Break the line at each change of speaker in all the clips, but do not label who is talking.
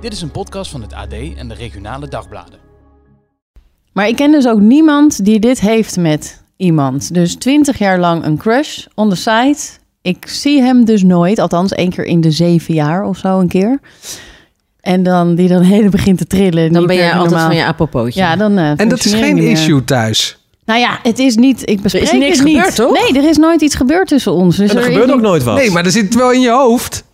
Dit is een podcast van het AD en de regionale dagbladen.
Maar ik ken dus ook niemand die dit heeft met iemand. Dus twintig jaar lang een crush on the side. Ik zie hem dus nooit, althans één keer in de zeven jaar of zo een keer. En dan die dan helemaal begint te trillen.
Dan
niet
ben
meer
jij altijd
normaal.
van je apopootje.
Ja, dan. eh,
En dat is
functioneer
geen
je niet meer.
issue thuis.
Nou ja, het is niet. Ik bespreek
niks
het niet.
gebeurd, toch?
Nee, er is nooit iets gebeurd tussen ons. Dus
En er
is
gebeurt ook
niet-
nooit wat.
Nee, maar er zit het wel in je hoofd.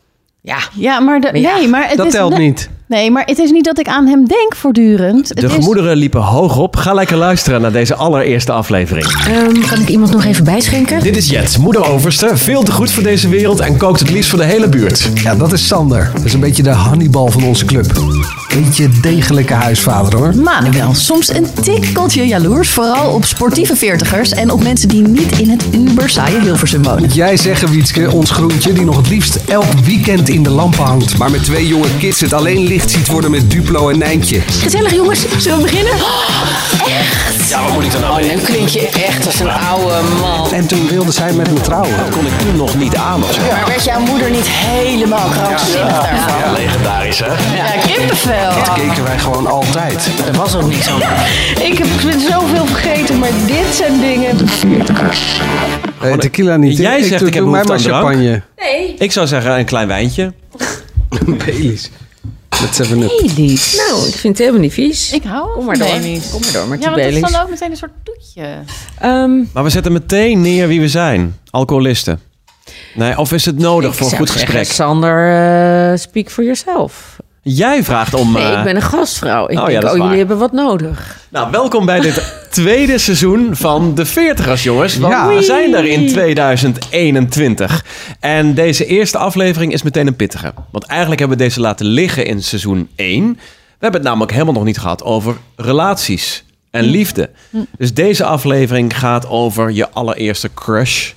ja.
Ja, maar, de,
Maar ja,
nee, maar het
dat
is,
telt
nee,
niet.
Nee, maar het is niet dat ik aan hem denk voortdurend.
De
het is,
gemoederen liepen hoog op. Ga lekker luisteren naar deze allereerste aflevering.
Ehm,
kan ik iemand nog even bijschenken?
Dit is Jet, moederoverste. Veel te goed voor deze wereld en kookt het liefst voor de hele buurt.
Ja, dat is Sander. Dat is een beetje de Hannibal van onze club. Beetje degelijke huisvader hoor.
Manuel, soms een tikkeltje jaloers, vooral op sportieve veertigers en op mensen die niet in het uber saaie Hilversum wonen.
Moet jij zeggen, Wietske, ons groentje die nog het liefst elk weekend in de lampen hangt. Maar met twee jonge kids het alleen licht ziet worden met Duplo en Nijntje.
Gezellig jongens, zullen we beginnen?
Ja, wat moet ik dan nou?
Dan klink je echt als een oude man.
En toen wilde zij met me trouwen.
Kon ik toen nog niet aan of zo?
Maar werd jouw moeder niet helemaal krankzinnig daarvan?
Ja, legendarisch hè?
Ja, kippenvel.
Keken wij gewoon altijd.
Er was ook niks aan.
Ik heb zoveel vergeten, maar dit zijn dingen.
Eh, tequila niet.
Jij zegt,
doe-
ik heb
doe mij maar
behoefte aan
champagne.
Ik zou zeggen een klein wijntje.
Baileys. Met 7-Up.
Nou, ik vind het helemaal niet vies.
Ik hou
Kom
van
maar door.
Baileys.
Kom maar door met
Ja,
die
want dat is
Baileys.
dan ook meteen een soort toetje.
Ehm,
Maar we zetten meteen neer wie we zijn. Alcoholisten. Nee, of is het nodig
ik
voor een
zou
goed
zeggen,
gesprek?
Sander, eh, speak for yourself.
Jij vraagt om...
Nee,
eh,
ik ben een gastvrouw. Ik
Oh ja,
denk,
dat is
oh, jullie
waar.
hebben wat nodig.
Nou, welkom bij dit tweede seizoen van de 40ers, jongens. Want
Ja.
we zijn er in 2021. En deze eerste aflevering is meteen een pittige. Want eigenlijk hebben we deze laten liggen in seizoen 1. We hebben het namelijk helemaal nog niet gehad over relaties en liefde. Dus deze aflevering gaat over je allereerste crush.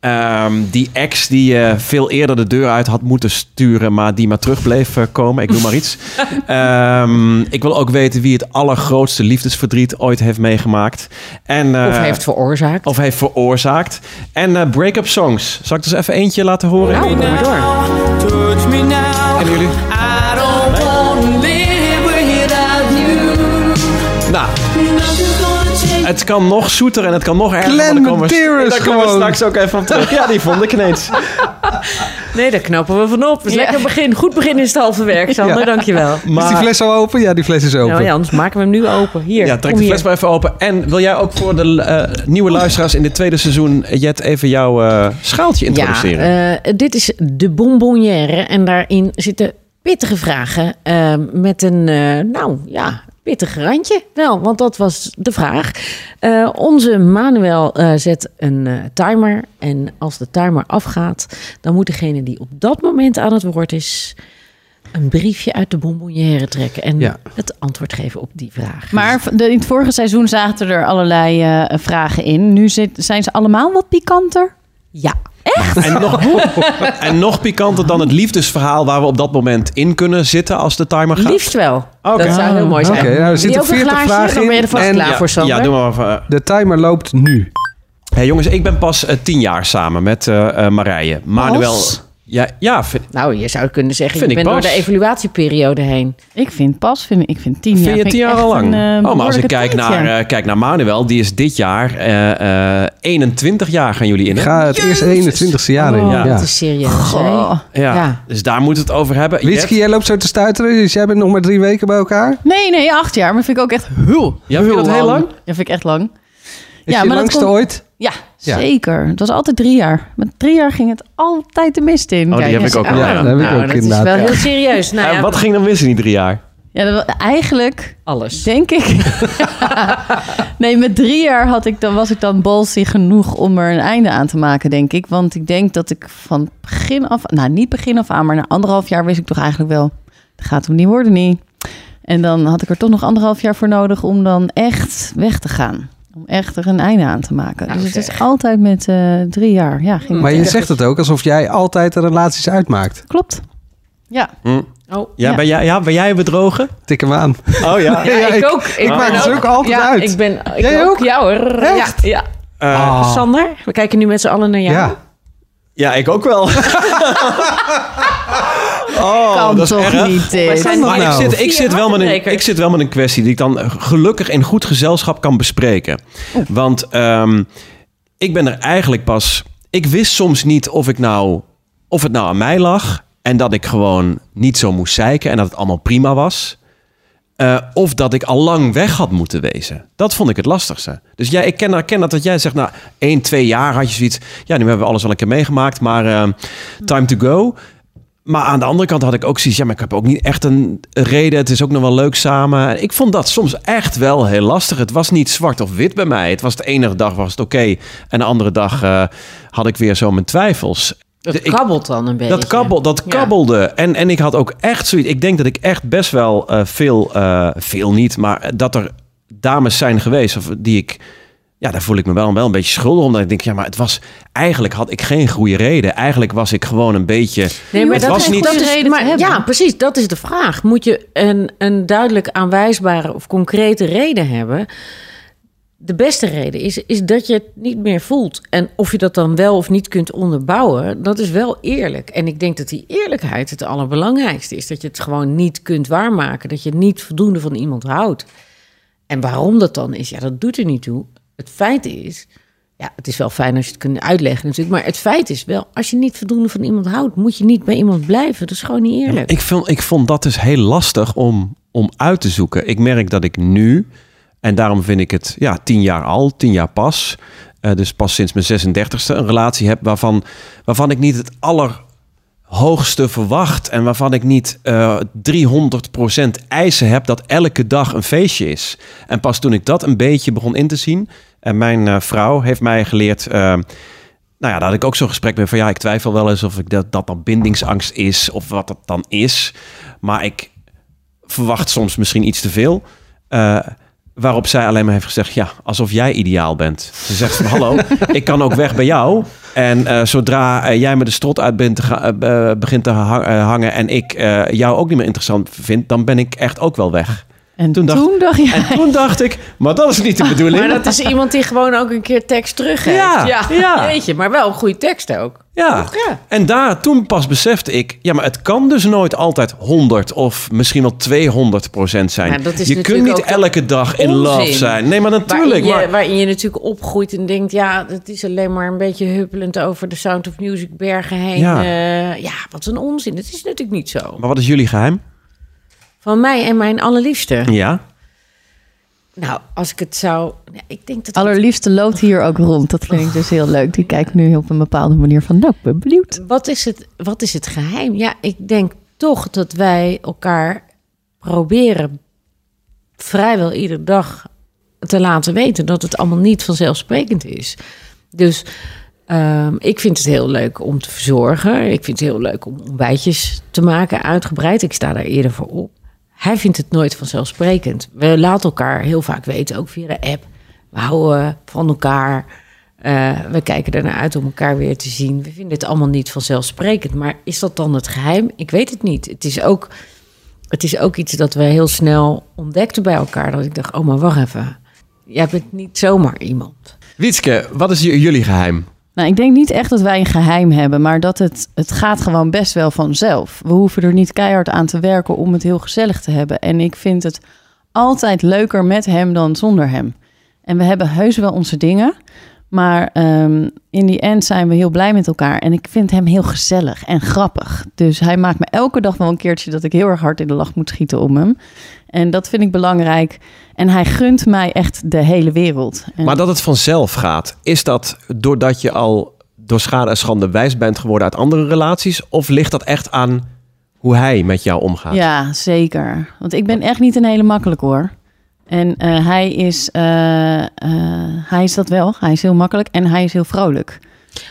Ehm, die ex die je veel eerder de deur uit had moeten sturen, maar die maar terug bleef eh, komen. Ik noem maar iets. Ehm, ik wil ook weten wie het allergrootste liefdesverdriet ooit heeft meegemaakt. En, eh,
Of heeft veroorzaakt.
of heeft veroorzaakt. En eh, break-up songs. Zal ik dus even eentje laten horen?
Nou, kom maar door.
Kennen jullie? Nou. Het kan nog zoeter en het kan nog erger. maar daar
Glenn
komen we-
Medeiros
Daar komen we
gewoon.
straks ook even op terug. Ja, die vond ik ineens.
Nee, daar knappen we van op. Dus lekker begin. Goed begin is het halve werk, Sander.
Ja.
Dankjewel.
Is die fles al open? Ja, die fles is open.
Nou ja, anders maken we hem nu open. Hier,
Ja, trek
kom
de
hier.
fles maar even open. En wil jij ook voor de eh, nieuwe luisteraars in dit tweede seizoen, Jet, even jouw eh, schaaltje introduceren?
Ja, eh, dit is de bonbonnière. En daarin zitten pittige vragen eh, met een, eh, nou ja, pittig randje wel. Want dat was de vraag. Eh, onze Manuel eh, zet een eh, timer. En als de timer afgaat, dan moet degene die op dat moment aan het woord is... een briefje uit de bonbonnière trekken. En
Ja.
het antwoord geven op die vraag.
Maar v- de, in het vorige seizoen zaten er allerlei eh, vragen in. Nu zit, zijn ze allemaal wat pikanter.
Ja.
En, nog, en nog pikanter dan het liefdesverhaal waar we op dat moment in kunnen zitten als de timer gaat.
Liefst wel. Dat zou heel
Oh,
mooi zijn.
oké. Nou, er
Wil je
zitten
ook een
40
glaasje?
vragen
Dan ben je
in.
er vast
En-
klaar
Ja,
voor, Sander.
Ja, doe maar even. eh.
De timer loopt nu.
Hey, jongens, ik ben pas eh, tien jaar samen met eh, eh, Marije. Manuel.
Pas?
Ja, ja, vind,
Nou, je zou kunnen zeggen,
Vind
je
ik
bent door
pas.
de evaluatieperiode heen.
Ik vind pas, vind, ik vind tien jaar.
Vind je
vind
tien
ik
jaar
echt
al lang?
een, eh,
oh, maar als ik
behoorlijke
kijk
tijd,
naar,
ja.
eh, kijk naar Manuel, die is dit jaar eh, eh, 21 jaar gaan jullie in. hè?
Ga het eerste 21ste jaar in.
Oh,
Ja.
dat is serieus.
eh,
Goh.
hè?
Ja.
Ja.
Dus daar moeten we het over hebben.
Whisky, jij loopt zo te stuiteren, dus jij bent nog maar drie weken bij elkaar?
Nee, nee, acht jaar. Maar vind ik ook echt heel,
Ja, vind je dat heel lang?
Ja, vind ik echt lang.
Is
Ja, maar
je
dat
langste
komt-
ooit?
Ja,
Ja.
zeker. Het was altijd drie jaar. Met drie jaar ging het altijd de mist in.
Oh, die heb
eens
ik ook
aan.
wel.
Ja, dat heb ik
nou,
ook
dat is
inderdaad.
wel heel serieus. Nou
Eh,
ja,
wat ging dan mis in die drie jaar?
Ja, dat wel- eigenlijk
alles.
denk ik... nee, met drie jaar had ik, dan was ik dan ballsy genoeg om er een einde aan te maken, denk ik. Want ik denk dat ik van begin af... Nou, niet begin af aan, maar na anderhalf jaar wist ik toch eigenlijk wel... Het gaat hem niet worden, niet. En dan had ik er toch nog anderhalf jaar voor nodig om dan echt weg te gaan. Om echt er een einde aan te maken.
Nou,
dus het
zeg.
is altijd met eh, drie jaar. Ja, ging
Maar
het
je
echt.
zegt het ook alsof jij altijd de relaties uitmaakt.
Klopt. Ja.
Oh.
Ja,
Ja.
Ben, jij, ja ben jij bedrogen?
Tik hem aan.
Oh
Ja,
ja.
Ja,
ik,
ik-
ook. Ik
ik
ben
maak het ook altijd
ja,
uit.
Ik ben ik
Jij
ook.
ook?
Ja hoor.
Echt?
Ja.
Eh,
Ah.
Sander, we kijken nu met z'n allen naar jou.
Ja.
ja, ik ook wel. Oh,
kan
dat is
toch
erg.
niet dit?
Wij zijn-
Maar ik
Nou.
zit, ik,
Vier
zit wel met een,
hartbrekers.
ik zit wel met een kwestie die ik dan eh, gelukkig in goed gezelschap kan bespreken. Want ehm, ik ben er eigenlijk pas. Ik wist soms niet of, ik nou, of het nou aan mij lag. En dat ik gewoon niet zo moest zeiken en dat het allemaal prima was. Eh, of dat ik al lang weg had moeten wezen. Dat vond ik het lastigste. Dus jij, ik ken, ken dat dat jij zegt, nou, één, twee jaar had je zoiets. Ja, nu hebben we alles wel een keer meegemaakt, maar eh, time to go. Maar aan de andere kant had ik ook zoiets, ja, maar ik heb ook niet echt een reden. Het is ook nog wel leuk samen. Ik vond dat soms echt wel heel lastig. Het was niet zwart of wit bij mij. Het was de ene dag was het oké en de andere dag eh, had ik weer zo mijn twijfels.
Dat
De- ik-
kabbelt dan een beetje.
dat, kabbel, dat
Ja.
kabbelde. En, en ik had ook echt zoiets. Ik denk dat ik echt best wel eh, veel, eh, veel niet, maar dat er dames zijn geweest of die ik. Ja, daar voel ik me wel, wel een beetje schuldig omdat ik denk, ja, maar het was eigenlijk had ik geen goede reden. Eigenlijk was ik gewoon een beetje.
Nee, maar
Het
dat
was
is
niet-
dat is-
Goede reden te
maar-
hebben.
Ja, precies. Dat is de vraag. Moet je een, een duidelijk aanwijsbare of concrete reden hebben? De beste reden is, is dat je het niet meer voelt. En of je dat dan wel of niet kunt onderbouwen, dat is wel eerlijk. En ik denk dat die eerlijkheid het allerbelangrijkste is. Dat je het gewoon niet kunt waarmaken. Dat je niet voldoende van iemand houdt. En waarom dat dan is, ja, dat doet er niet toe. Het feit is, ja, het is wel fijn als je het kunt uitleggen natuurlijk, maar het feit is wel, als je niet voldoende van iemand houdt, moet je niet bij iemand blijven. Dat is gewoon niet
Ja, maar
eerlijk.
Ik vond, ik vond dat dus heel lastig om, om uit te zoeken. Ik merk dat ik nu, en daarom vind ik het ja, tien jaar al, tien jaar pas. eh, dus pas sinds mijn 36e een relatie heb waarvan, waarvan ik niet het allerhoogste verwacht. En waarvan ik niet eh 300% eisen heb dat elke dag een feestje is. En pas toen ik dat een beetje begon in te zien. En mijn eh, vrouw heeft mij geleerd. eh, nou ja, daar had ik ook zo'n gesprek mee van ja, ik twijfel wel eens of ik dat, dat dan bindingsangst is of wat dat dan is. Maar ik verwacht soms misschien iets te veel. Eh, waarop zij alleen maar heeft gezegd, ja, alsof jij ideaal bent. Ze zegt van hallo, ik kan ook weg bij jou. En eh, zodra eh, jij me de strot uit bent te ga- eh, eh, begint te ha- eh, hangen en ik eh, jou ook niet meer interessant vind, dan ben ik echt ook wel weg.
En
toen
toen
dacht-
dacht,
En
jij...
toen dacht ik, maar dat is niet de bedoeling.
Maar dat is iemand die gewoon ook een keer tekst terug heeft.
Ja, ja.
Weet je, maar wel een goede tekst ook.
Ja.
Ja.
En daar, toen pas besefte ik, ja, maar het kan dus nooit altijd 100 of misschien wel 200 procent zijn.
Maar dat is
je kunt
natuurlijk
niet
ook
elke dag in
onzin.
love zijn. Nee, maar
Waarin
natuurlijk.
je,
Maar,
waarin je natuurlijk opgroeit en denkt, ja, het is alleen maar een beetje huppelend over de Sound of Music bergen heen.
Ja.
Ja, ja wat een onzin. Dat is natuurlijk niet zo.
maar wat is jullie geheim?
Van mij en mijn allerliefste.
Ja.
Nou, als ik het zou... Ja, ik denk dat
Allerliefste loopt hier ook rond. Dat vind ik dus heel leuk. Die kijkt nu op een bepaalde manier van... Nou, ik ben benieuwd.
Wat is, het, wat is het geheim? Ja, ik denk toch dat wij elkaar proberen vrijwel iedere dag te laten weten dat het allemaal niet vanzelfsprekend is. Dus ehm, ik vind het heel leuk om te verzorgen. Ik vind het heel leuk om ontbijtjes te maken, uitgebreid. Ik sta daar eerder voor op. Hij vindt het nooit vanzelfsprekend. We laten elkaar heel vaak weten, ook via de app. We houden van elkaar. Eh, we kijken ernaar uit om elkaar weer te zien. We vinden het allemaal niet vanzelfsprekend. Maar is dat dan het geheim? Ik weet het niet. Het is ook, het is ook iets dat we heel snel ontdekten bij elkaar. Dat ik dacht, oh maar wacht even. Jij bent niet zomaar iemand.
Wietske, wat is j- jullie geheim?
Nou, ik denk niet echt dat wij een geheim hebben, maar dat het, het gaat gewoon best wel vanzelf. We hoeven er niet keihard aan te werken om het heel gezellig te hebben. En ik vind het altijd leuker met hem dan zonder hem. En we hebben heus wel onze dingen, maar ehm, in die end zijn we heel blij met elkaar. En ik vind hem heel gezellig en grappig. Dus hij maakt me elke dag wel een keertje dat ik heel erg hard in de lach moet schieten om hem. En dat vind ik belangrijk. En hij gunt mij echt de hele wereld. En
Maar dat het vanzelf gaat, is dat doordat je al door schade en schande wijs bent geworden uit andere relaties? Of ligt dat echt aan hoe hij met jou omgaat?
Ja, zeker. Want ik ben echt niet een hele makkelijk hoor. En eh, hij, is, eh, eh, hij is dat wel. Hij is heel makkelijk en hij is heel vrolijk.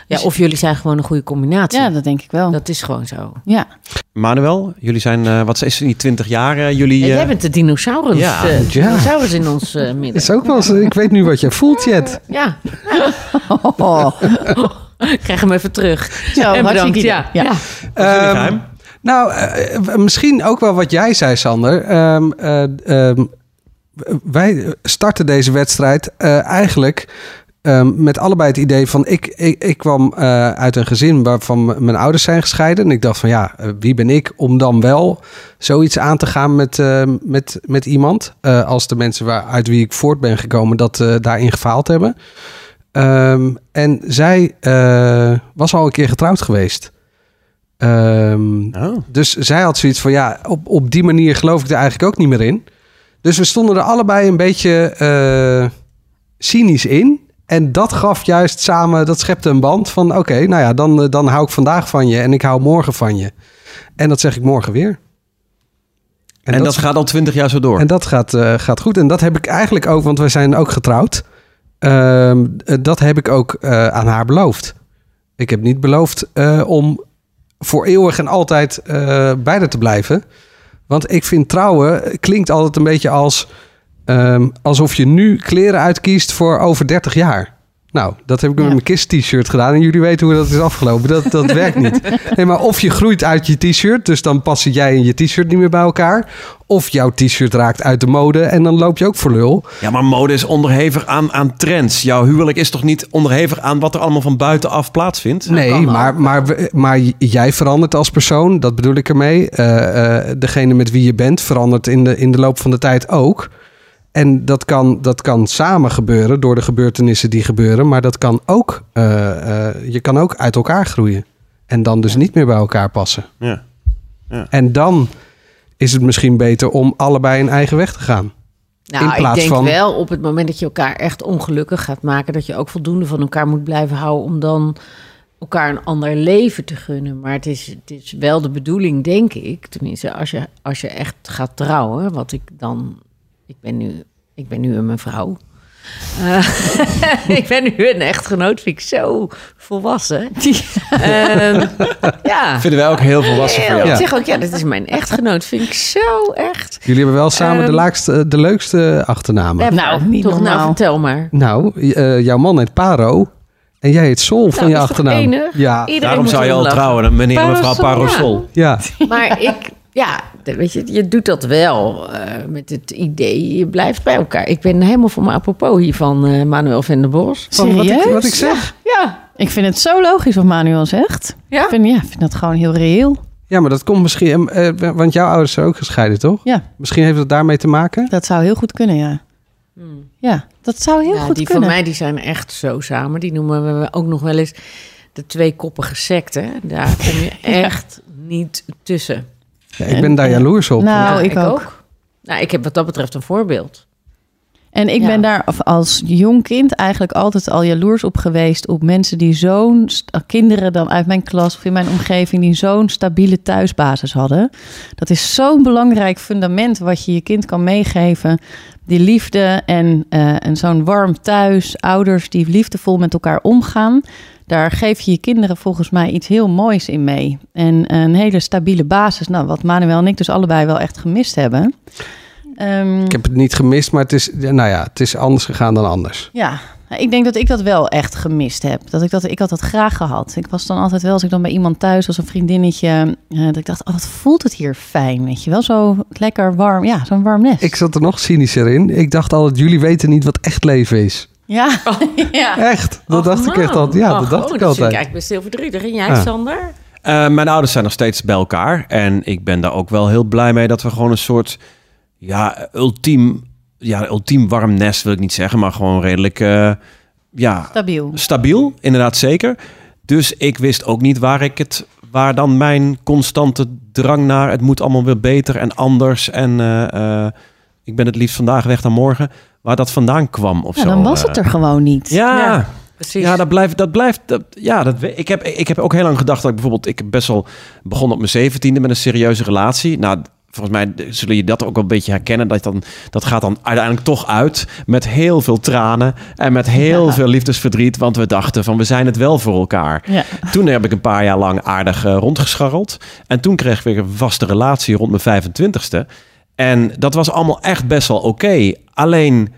Ja, of jullie zijn gewoon een goede combinatie.
Ja, dat denk ik wel.
Dat is gewoon zo.
Ja.
Manuel, jullie zijn, eh, wat is het, niet 20 jaar? eh, jullie,
Ja,
eh,
jij bent de dinosaurus,
Ja.
eh,
Ja.
dinosaurus in ons eh, midden.
Is ook wel eens, ik weet nu wat jij voelt, Jet.
Ja,
Oh,
ik krijg hem even terug.
zo,
en bedankt.
hartstikke
Ja.
idee. Ja.
wat is
Ehm,
jullie geheim?
Nou, eh, eh, misschien ook wel wat jij zei, Sander. Ehm, eh, ehm, wij starten deze wedstrijd eh, eigenlijk ehm, met allebei het idee van... Ik, ik, ik kwam eh, uit een gezin waarvan m- mijn ouders zijn gescheiden. En ik dacht van ja, eh, wie ben ik om dan wel zoiets aan te gaan met, eh, met, met iemand... eh, als de mensen waar, uit wie ik voort ben gekomen dat eh, daarin gefaald hebben. Ehm, en zij eh, was al een keer getrouwd geweest. Ehm,
Oh.
dus zij had zoiets van, ja, op, op die manier geloof ik er eigenlijk ook niet meer in. Dus we stonden er allebei een beetje eh, cynisch in. En dat gaf juist samen, dat schepte een band van, oké, nou ja, dan, eh, dan hou ik vandaag van je en ik hou morgen van je. En dat zeg ik morgen weer.
En, dat, gaat al twintig jaar zo door.
En dat gaat, eh, gaat goed. En dat heb ik eigenlijk ook, want wij zijn ook getrouwd. Ehm, eh, dat heb ik ook eh, aan haar beloofd. Ik heb niet beloofd eh, om voor eeuwig en altijd eh, bij haar te blijven. Want ik vind trouwen eh, klinkt altijd een beetje als ehm, alsof je nu kleren uitkiest voor over 30 jaar. Nou, dat heb ik met
Ja.
mijn KISS-t-shirt gedaan. En jullie weten hoe dat is afgelopen. Dat, dat werkt niet. Nee, maar of je groeit uit je t-shirt, dus dan passen jij en je t-shirt niet meer bij elkaar. Of jouw t-shirt raakt uit de mode en dan loop je ook voor lul.
Ja, maar mode is onderhevig aan, aan trends. Jouw huwelijk is toch niet onderhevig aan wat er allemaal van buitenaf plaatsvindt?
Nee, maar, maar, we- maar j- jij verandert als persoon, dat bedoel ik ermee. Eh, eh, degene met wie je bent verandert in de, in de loop van de tijd ook. En dat kan, dat kan samen gebeuren door de gebeurtenissen die gebeuren. Maar dat kan ook, eh, eh, je kan ook uit elkaar groeien. En dan dus niet meer bij elkaar passen.
Ja.
En dan is het misschien beter om allebei een eigen weg te gaan.
Nou,
In plaats
ik denk
van-
wel op het moment dat je elkaar echt ongelukkig gaat maken, dat je ook voldoende van elkaar moet blijven houden om dan elkaar een ander leven te gunnen. Maar het is, het is wel de bedoeling, denk ik, tenminste, als je, als je echt gaat trouwen, wat ik dan, ik ben nu, ik ben nu een vrouw. ik ben nu een echtgenoot, vind ik zo volwassen. Ehm, ja.
Vinden wij ook heel volwassen voor
Heel,
jou.
Ik zeg ook, ja, dat is mijn echtgenoot. Vind ik zo echt.
Jullie hebben wel samen de,
Ehm.
laagste, de leukste achternamen.
Even,
Nou, niet
toch,
normaal.
Nou, vertel maar.
Nou, eh, jouw man heet Paro. En jij heet Sol van je
dat Nou, is toch
achternaam.
enig?
Ja,
Iedereen
Daarom
moet
zou je
erom
al
lachen.
trouwen, meneer en mevrouw
Parasol, ja.
Parosol.
ja.
Maar ik, ja, de- weet je, je doet dat wel eh, met het idee, je blijft bij elkaar. Ik ben helemaal voor me apropos hiervan, eh, Manuel van der Bos.
Van wat ik,
Serieus?
wat ik zeg.
Ja,
Ik vind het zo logisch wat Manuel zegt.
Ja?
Ik vind, ja, ik vind dat gewoon heel reëel.
Ja, maar dat komt misschien... eh, eh, want jouw ouders zijn ook gescheiden, toch?
Ja,
Misschien heeft het daarmee te maken?
dat zou heel goed kunnen, ja. Ja, dat zou heel
Ja,
goed
die
kunnen.
van mij die zijn echt zo samen. Die noemen we ook nog wel eens de tweekoppige secte. Daar kom je echt niet tussen.
Ja, ik ben daar jaloers op.
Nou,
Ja,
ik ook.
Nou, ik heb wat dat betreft een voorbeeld.
En ik
Ja.
ben daar af- als jong kind eigenlijk altijd al jaloers op geweest. Op mensen die zo'n, st- eh, kinderen dan uit mijn klas of in mijn omgeving, die zo'n stabiele thuisbasis hadden. Dat is zo'n belangrijk fundament wat je je kind kan meegeven. Die liefde en, eh, en zo'n warm thuis, ouders die liefdevol met elkaar omgaan. Daar geef je je kinderen volgens mij iets heel moois in mee. En een hele stabiele basis. Nou, wat Manuel en ik dus allebei wel echt gemist hebben. Ehm,
Ik heb het niet gemist, maar het is, ja, nou ja, het is anders gegaan dan anders.
ja, ik denk dat ik dat wel echt gemist heb. Dat ik, dat, ik had dat graag gehad. Ik was dan altijd wel, als ik dan bij iemand thuis was, een vriendinnetje... eh, dat ik dacht, oh, wat voelt het hier fijn, weet je wel? Zo lekker warm, ja, zo'n warm nest.
Ik zat er nog cynischer in. Ik dacht altijd, jullie weten niet wat echt leven is.
Ja, ja.
Ah.
Echt, dat dacht ik echt altijd. Ja, dat dacht
oh,
ik altijd.
Kijk, ik best heel verdrietig. En jij,
Ja.
Sander?
Eh, mijn ouders zijn nog steeds bij elkaar. En ik ben daar ook wel heel blij mee dat we gewoon een soort ja, ultiem, ja, ultiem warm nest wil ik niet zeggen, maar gewoon redelijk eh, ja,
stabiel.
stabiel, inderdaad zeker. Dus ik wist ook niet waar ik het, waar dan mijn constante drang naar het moet allemaal weer beter en anders en eh, eh, ik ben het liefst vandaag weg dan morgen, waar dat vandaan kwam of
Ja,
zo. eh.
dan was het er gewoon niet.
ja.
Precies.
Ja, dat blijft. Dat blijft dat, ja, dat, we- ik, heb, ik heb ook heel lang gedacht dat ik bijvoorbeeld. Ik heb best wel begon op mijn zeventiende met een serieuze relatie. Nou, volgens mij eh, zullen je dat ook wel een beetje herkennen. Dat, dan, dat gaat dan uiteindelijk toch uit. Met heel veel tranen en met heel
Ja.
veel liefdesverdriet. Want we dachten van we zijn het wel voor elkaar.
Ja.
Toen heb ik een paar jaar lang aardig eh, rondgescharreld. En toen kreeg ik weer een vaste relatie rond mijn 25ste. En dat was allemaal echt best wel oké. Alleen,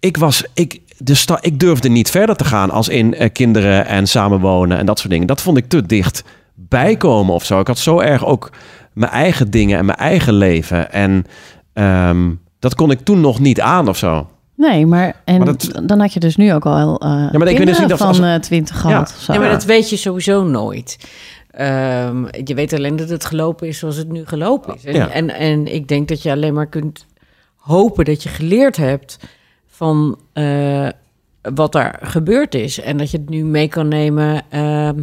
ik was... Ik, de sta, ik durfde niet verder te gaan als in eh, kinderen en samenwonen en dat soort dingen. Dat vond ik te dicht bijkomen of zo. Ik had zo erg ook mijn eigen dingen en mijn eigen leven. En ehm, dat kon ik toen nog niet aan of zo.
Nee, maar, en
Maar dat-
dan had je dus nu ook al eh ja,
weet dus niet of
van
als-
eh, 20 gehad. of zo.
Ja, maar dat weet je sowieso nooit. Ehm, je weet alleen dat het gelopen is zoals het nu gelopen is. En,
Ja.
en, en ik denk dat je alleen maar kunt hopen dat je geleerd hebt van eh, wat daar gebeurd is. En dat je het nu mee kan nemen. ehm,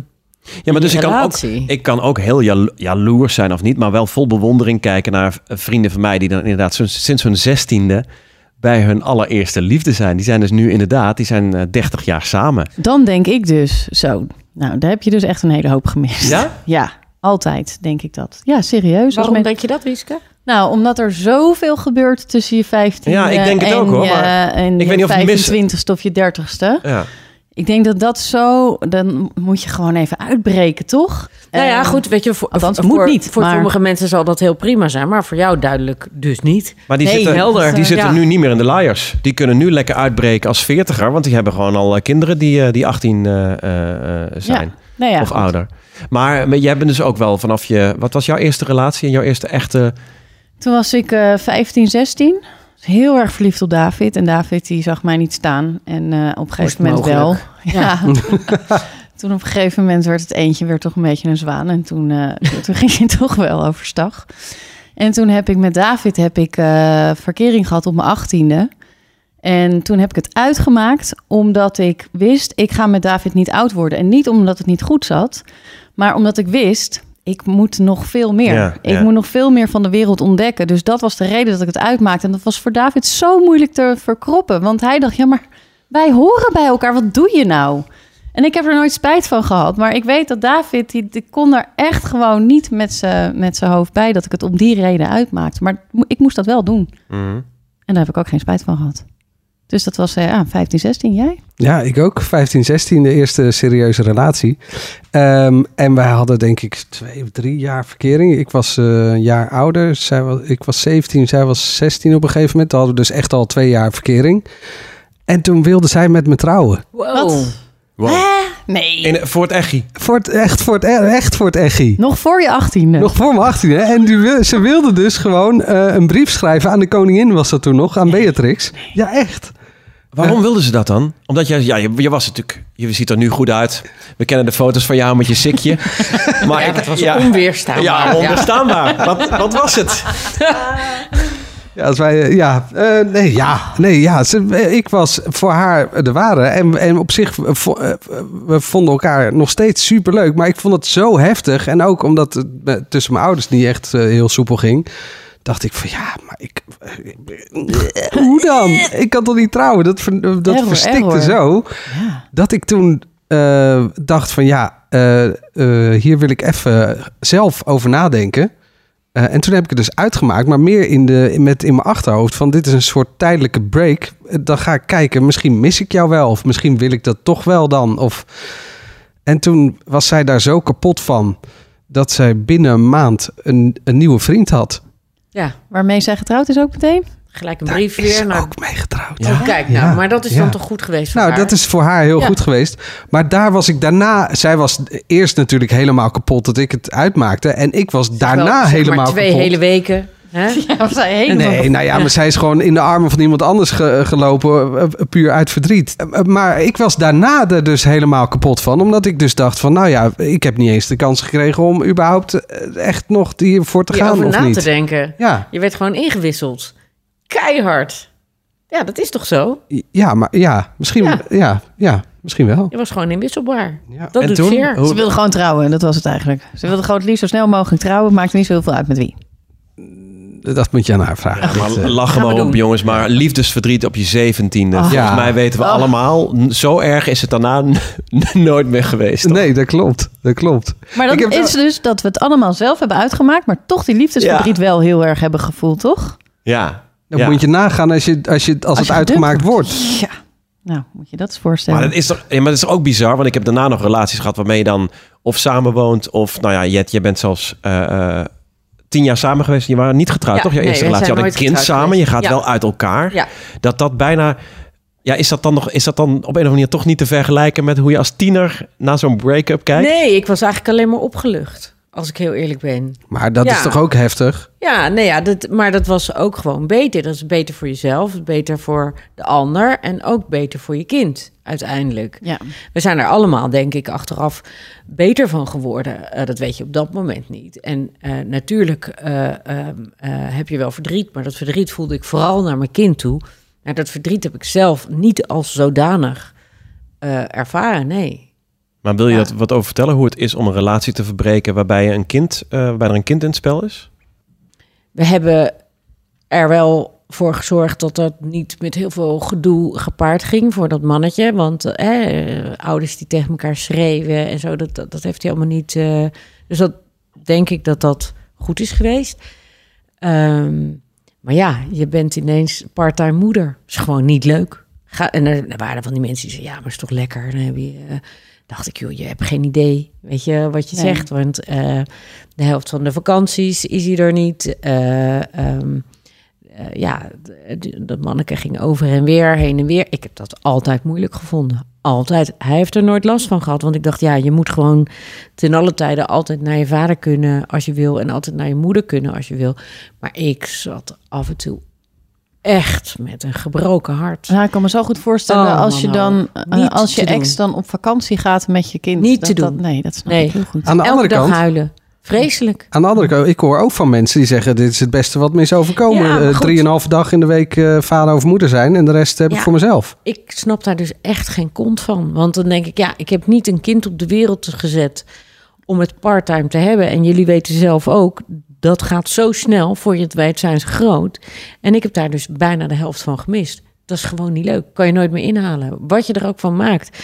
Ja, maar
Die
dus ik kan, ook,
relatie.
ik kan ook heel jalo- jaloers zijn of niet, maar wel vol bewondering kijken naar v- vrienden van mij die dan inderdaad zo- sinds hun zestiende bij hun allereerste liefde zijn. Die zijn dus nu inderdaad, die zijn eh, 30 jaar samen.
Dan denk ik dus zo. Nou, daar heb je dus echt een hele hoop gemist.
Ja?
Ja, altijd denk ik dat. Ja, serieus. Als men-
denk je dat, Wiske?
Nou, omdat er zoveel gebeurt tussen je 15
Ja, ik denk het
en
ook, hoor,
je-
maar
en
ik
je
weet niet of het mis-
25ste of je 30ste.
Ja.
Ik denk dat dat zo... Dan moet je gewoon even uitbreken, toch?
Nou ja,
Eh,
goed, weet je, voor,
althans,
voor,
moet
voor-
niet,
voor
maar-
sommige mensen zal dat heel prima zijn, maar voor jou duidelijk dus niet.
Maar die
Nee,
zitten,
helder.
Die
Ja.
zitten nu niet meer in de liars. Die kunnen nu lekker uitbreken als veertiger, want die hebben gewoon al eh, kinderen die, eh, die 18 eh, eh, eh, zijn.
Ja. Nou ja,
of
goed.
ouder. Maar, maar jij bent dus ook wel vanaf je... Wat was jouw eerste relatie en jouw eerste echte...
Toen was ik eh 15, 16. Was Heel erg verliefd op David. En David die zag mij niet staan. En eh, op een gegeven moment
mogelijk.
wel. Ja. toen op een gegeven moment werd het eentje weer toch een beetje een zwaan. En toen, eh, toen ging je toch wel overstag. En toen heb ik met David heb ik, eh, verkering gehad op mijn achttiende. En toen heb ik het uitgemaakt omdat ik wist... ik ga met David niet oud worden. En niet omdat het niet goed zat... maar omdat ik wist... ik moet nog veel meer.
Ja,
ik
ja.
moet nog veel meer van de wereld ontdekken. Dus dat was de reden dat ik het uitmaakte. En dat was voor David zo moeilijk te verkroppen. Want hij dacht, ja, maar wij horen bij elkaar. Wat doe je nou? En ik heb er nooit spijt van gehad. Maar ik weet dat David, die, die kon er echt gewoon niet met zijn met z'n hoofd bij... dat ik het om die reden uitmaakte. Maar mo- ik moest dat wel doen.
Mhm.
En daar heb ik ook geen spijt van gehad. Dus dat was eh, ja, 15, 16, jij?
Ja, ik ook. 15, 16, de eerste serieuze relatie. Ehm, en wij hadden denk ik twee of drie jaar verkering. Ik was eh, een jaar ouder. Zij was, ik was 17, zij was 16 op een gegeven moment. Toen hadden we dus echt al twee jaar verkering. En toen wilde zij met me trouwen.
Wat? Oh. Nee.
In, voor het echi.
Voor het, echt voor het, e- echt voor het echi.
Nog voor je 18e.
Nog voor mijn 18 hè? En die, wil- ze wilde dus gewoon eh, een brief schrijven aan de koningin was dat toen nog, aan Beatrix. Ja, echt.
Waarom wilden ze dat dan? Omdat jij, ja, je, je was natuurlijk, je ziet er nu goed uit. We kennen de foto's van jou met je sikje. Maar ik- ja,
Onweerstaanbaar.
Ja, onbestaanbaar. Wat, wat was het?
Ja, als wij, eh, ja, eh, nee, ja, nee, ja. Ze, eh, ik was voor haar eh, de ware. En, en op zich, eh, vo- eh, we vonden elkaar nog steeds superleuk. Maar ik vond het zo heftig. En ook omdat het eh, tussen mijn ouders niet echt eh, heel soepel ging. Dacht ik van, ja, maar ik... eh, Hoe dan? Ik kan toch niet trouwen? Dat, ver- dat
Error,
verstikte
error.
zo.
Ja.
Dat ik toen eh, dacht van, ja, eh, eh, hier wil ik even zelf over nadenken. Eh, en toen heb ik het dus uitgemaakt, maar meer in, de, met in mijn achterhoofd van dit is een soort tijdelijke break. Eh, Dan ga ik kijken, misschien mis ik jou wel of misschien wil ik dat toch wel dan. Of... En toen was zij daar zo kapot van dat zij binnen een maand een, een nieuwe vriend had.
Ja,
Waarmee zij getrouwd is ook meteen?
gelijk een
Daar
brief
is
weer.
ze
naar-
ook mee getrouwd.
Oh, kijk nou,
Ja,
maar dat is
ja.
dan toch goed geweest voor
Nou,
haar?
dat is voor haar heel
Ja.
goed geweest. Maar daar was ik daarna... Zij was eerst natuurlijk helemaal kapot dat ik het uitmaakte. En ik was daarna
Wel, zeg maar
helemaal
twee
kapot.
hele weken. Hè?
Of zij helemaal.
Nee, nou ja, maar zij is gewoon in de armen van iemand anders ge- gelopen, eh, eh, puur uit verdriet. Eh, eh, Maar ik was daarna er dus helemaal kapot van, omdat ik dus dacht van, nou ja, ik heb niet eens de kans gekregen om überhaupt eh, echt nog hiervoor te
Je
gaan
over
of
na
niet.
te denken.
Ja,
Je werd gewoon ingewisseld. Keihard. Ja, dat is toch zo?
ja, maar ja, misschien,
Ja.
ja, ja, misschien wel.
Je was gewoon inwisselbaar.
Ja.
Dat
En
doet
toen?
zeer.
Hoe-
Ze wilde gewoon trouwen, en dat was het eigenlijk. Ze wilde gewoon het liefst zo snel mogelijk trouwen. Maakte niet zoveel uit met wie.
Dat moet je aan haar vragen.
Ja, maar
Dit, eh,
lachen
Gaan we
maar op,
doen.
jongens. Maar liefdesverdriet op je zeventiende.
Ah.
Volgens
Oh. Ja.
mij weten we
Ah.
allemaal. n- Zo erg is het daarna n- nooit meer geweest. toch?
nee, dat klopt, dat klopt.
Maar
Ik
dat
heb
is dus dat we het allemaal zelf hebben uitgemaakt. Maar toch die liefdesverdriet wel heel erg hebben gevoeld, toch?
Ja.
Dan
Ja.
moet je nagaan als, je, als, je, als, het
je
uitgemaakt
gedumpt
wordt.
Ja. Nou, moet je dat eens
Maar
voorstellen.
dat, is toch, ja, maar dat is ook bizar, want ik heb daarna nog relaties gehad waarmee je dan of samenwoont of, nou ja, Jet, je bent zelfs eh, eh, tien jaar samen geweest en je waren niet getrouwd,
Ja,
toch? Je
nee,
eerste
wij
relatie je
zijn
had een
nooit
kind
getrouwd
samen, je gaat
geweest.
wel uit elkaar.
Ja.
Dat dat bijna, ja, is dat dan nog, is dat dan op een of andere manier toch niet te vergelijken met hoe je als tiener naar zo'n break-up kijkt?
Nee, ik was eigenlijk alleen maar opgelucht. Als ik heel eerlijk ben.
Maar dat
Ja.
is toch ook heftig?
Ja, nee, ja dat, maar dat was ook gewoon beter. Dat is beter voor jezelf, beter voor de ander en ook beter voor je kind uiteindelijk.
Ja.
We zijn er allemaal, denk ik, achteraf beter van geworden. Eh, dat weet je op dat moment niet. En eh, natuurlijk eh, ehm, eh, heb je wel verdriet, maar dat verdriet voelde ik vooral naar mijn kind toe. Maar dat verdriet heb ik zelf niet als zodanig eh, ervaren, nee.
Maar wil je
Ja.
dat wat over vertellen? Hoe het is om een relatie te verbreken waarbij, je een kind, eh, waarbij er een kind in het spel is?
We hebben er wel voor gezorgd dat dat niet met heel veel gedoe gepaard ging voor dat mannetje. Want eh, eh, ouders die tegen elkaar schreeuwen en zo, dat, dat, dat heeft hij allemaal niet. eh, dus dat denk ik dat dat goed is geweest. Ehm, maar ja, je bent ineens part-time moeder. is gewoon niet leuk. Ga, en er, er waren van die mensen die zeiden, ja, maar is toch lekker. Dan heb je, eh, dacht ik, joh, je hebt geen idee, weet je, wat je
Nee.
zegt. Want eh, de helft van de vakanties is hij er niet. Eh, ehm, eh, ja, de- de- dat manneke ging over en weer, heen en weer. Ik heb dat altijd moeilijk gevonden. Altijd. Hij heeft er nooit last van gehad. Want ik dacht, ja, je moet gewoon ten alle tijden altijd naar je vader kunnen als je wil. En altijd naar je moeder kunnen als je wil. Maar ik zat af en toe echt met een gebroken hart.
Ja, Nou, ik kan me zo goed voorstellen
Oh,
als je
man,
dan,
oh.
eh,
Niet
als je
te
ex dan op vakantie gaat met je kind.
Niet
dat,
te doen.
dat- nee, dat snap
Nee.
ik heel goed.
Aan de
Elke
andere
dag
kant,
huilen. Vreselijk.
aan de andere kant, ik hoor ook van mensen die zeggen: Dit is het beste wat me is overkomen.
Ja, maar
Eh,
goed.
Drieënhalve dag in de week eh, vader of moeder zijn en de rest heb ik
Ja.
voor mezelf.
ik snap daar dus echt geen kont van. Want dan denk ik, ja, ik heb niet een kind op de wereld gezet om het parttime te hebben. En jullie weten zelf ook, dat gaat zo snel, voor je het weet zijn ze groot. En ik heb daar dus bijna de helft van gemist. Dat is gewoon niet leuk. Kan je nooit meer inhalen. Wat je er ook van maakt.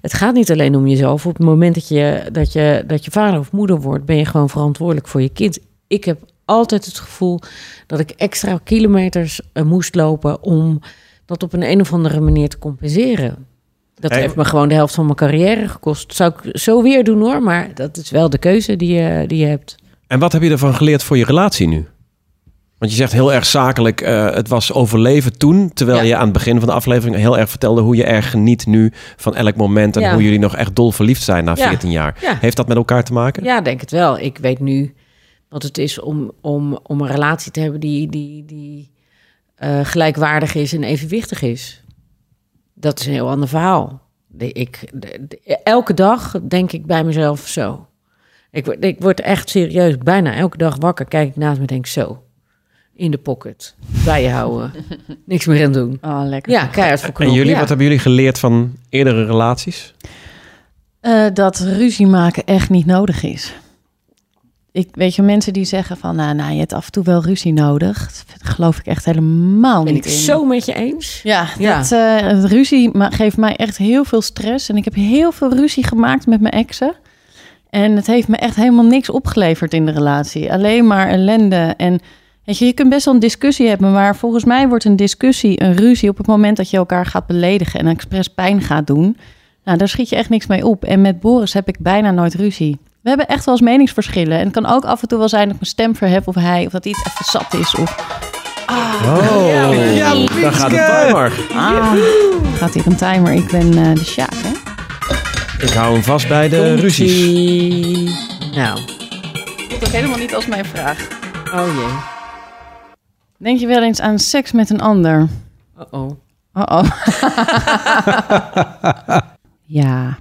Het gaat niet alleen om jezelf. Op het moment dat je, dat je, dat je vader of moeder wordt, ben je gewoon verantwoordelijk voor je kind. Ik heb altijd het gevoel dat ik extra kilometers eh, moest lopen om dat op een, een of andere manier te compenseren. Dat
Hey.
heeft me gewoon de helft van mijn carrière gekost. Zou ik zo weer doen hoor, maar dat is wel de keuze die je, die je hebt.
En wat heb je ervan geleerd voor je relatie nu? Want je zegt heel erg zakelijk, eh, het was overleven toen. Terwijl
Ja.
je aan het begin van de aflevering heel erg vertelde hoe je erg geniet nu van elk moment. En
Ja.
hoe jullie nog echt dol verliefd zijn na
Ja.
14 jaar.
Ja.
Heeft dat met elkaar te maken?
Ja, denk het wel. Ik weet nu wat het is om, om, om een relatie te hebben die, die, die eh, gelijkwaardig is en evenwichtig is. Dat is een heel ander verhaal. De- Ik, de- de- elke dag denk ik bij mezelf zo. Ik, word- ik word echt serieus bijna elke dag wakker. Kijk ik naast me en denk zo. In de pocket. Bijhouden. Niks meer aan doen.
Oh, lekker.
Ja, keihard voor
En jullie,
ja.
wat hebben jullie geleerd van eerdere relaties?
Eh, dat ruzie maken echt niet nodig is. Ik weet je, mensen die zeggen van, nou, nou je hebt af en toe wel ruzie nodig. Dat geloof ik echt helemaal
Ben
niet
ik
in.
zo met je eens?
Ja,
Ja.
Dat, eh, het ruzie ma- geeft mij echt heel veel stress. En ik heb heel veel ruzie gemaakt met mijn exen. En het heeft me echt helemaal niks opgeleverd in de relatie. Alleen maar ellende. En weet je, je kunt best wel een discussie hebben. Maar volgens mij wordt een discussie een ruzie op het moment dat je elkaar gaat beledigen. En expres pijn gaat doen. Nou, daar schiet je echt niks mee op. En met Boris heb ik bijna nooit ruzie. We hebben echt wel eens meningsverschillen. En het kan ook af en toe wel zijn dat ik mijn stem verhef of hij. Of dat hij het even zat is. Of
Oh,
Ja,
daar gaat de timer.
ah, gaat hier een timer. Ik ben eh, de Sjaak, hè?
Ik hou hem vast bij de ruzies.
Nou,
voelt ook helemaal niet als mijn vraag.
oh jee.
Denk je wel eens aan seks met een ander?
Uh-oh.
Oh-oh. ja.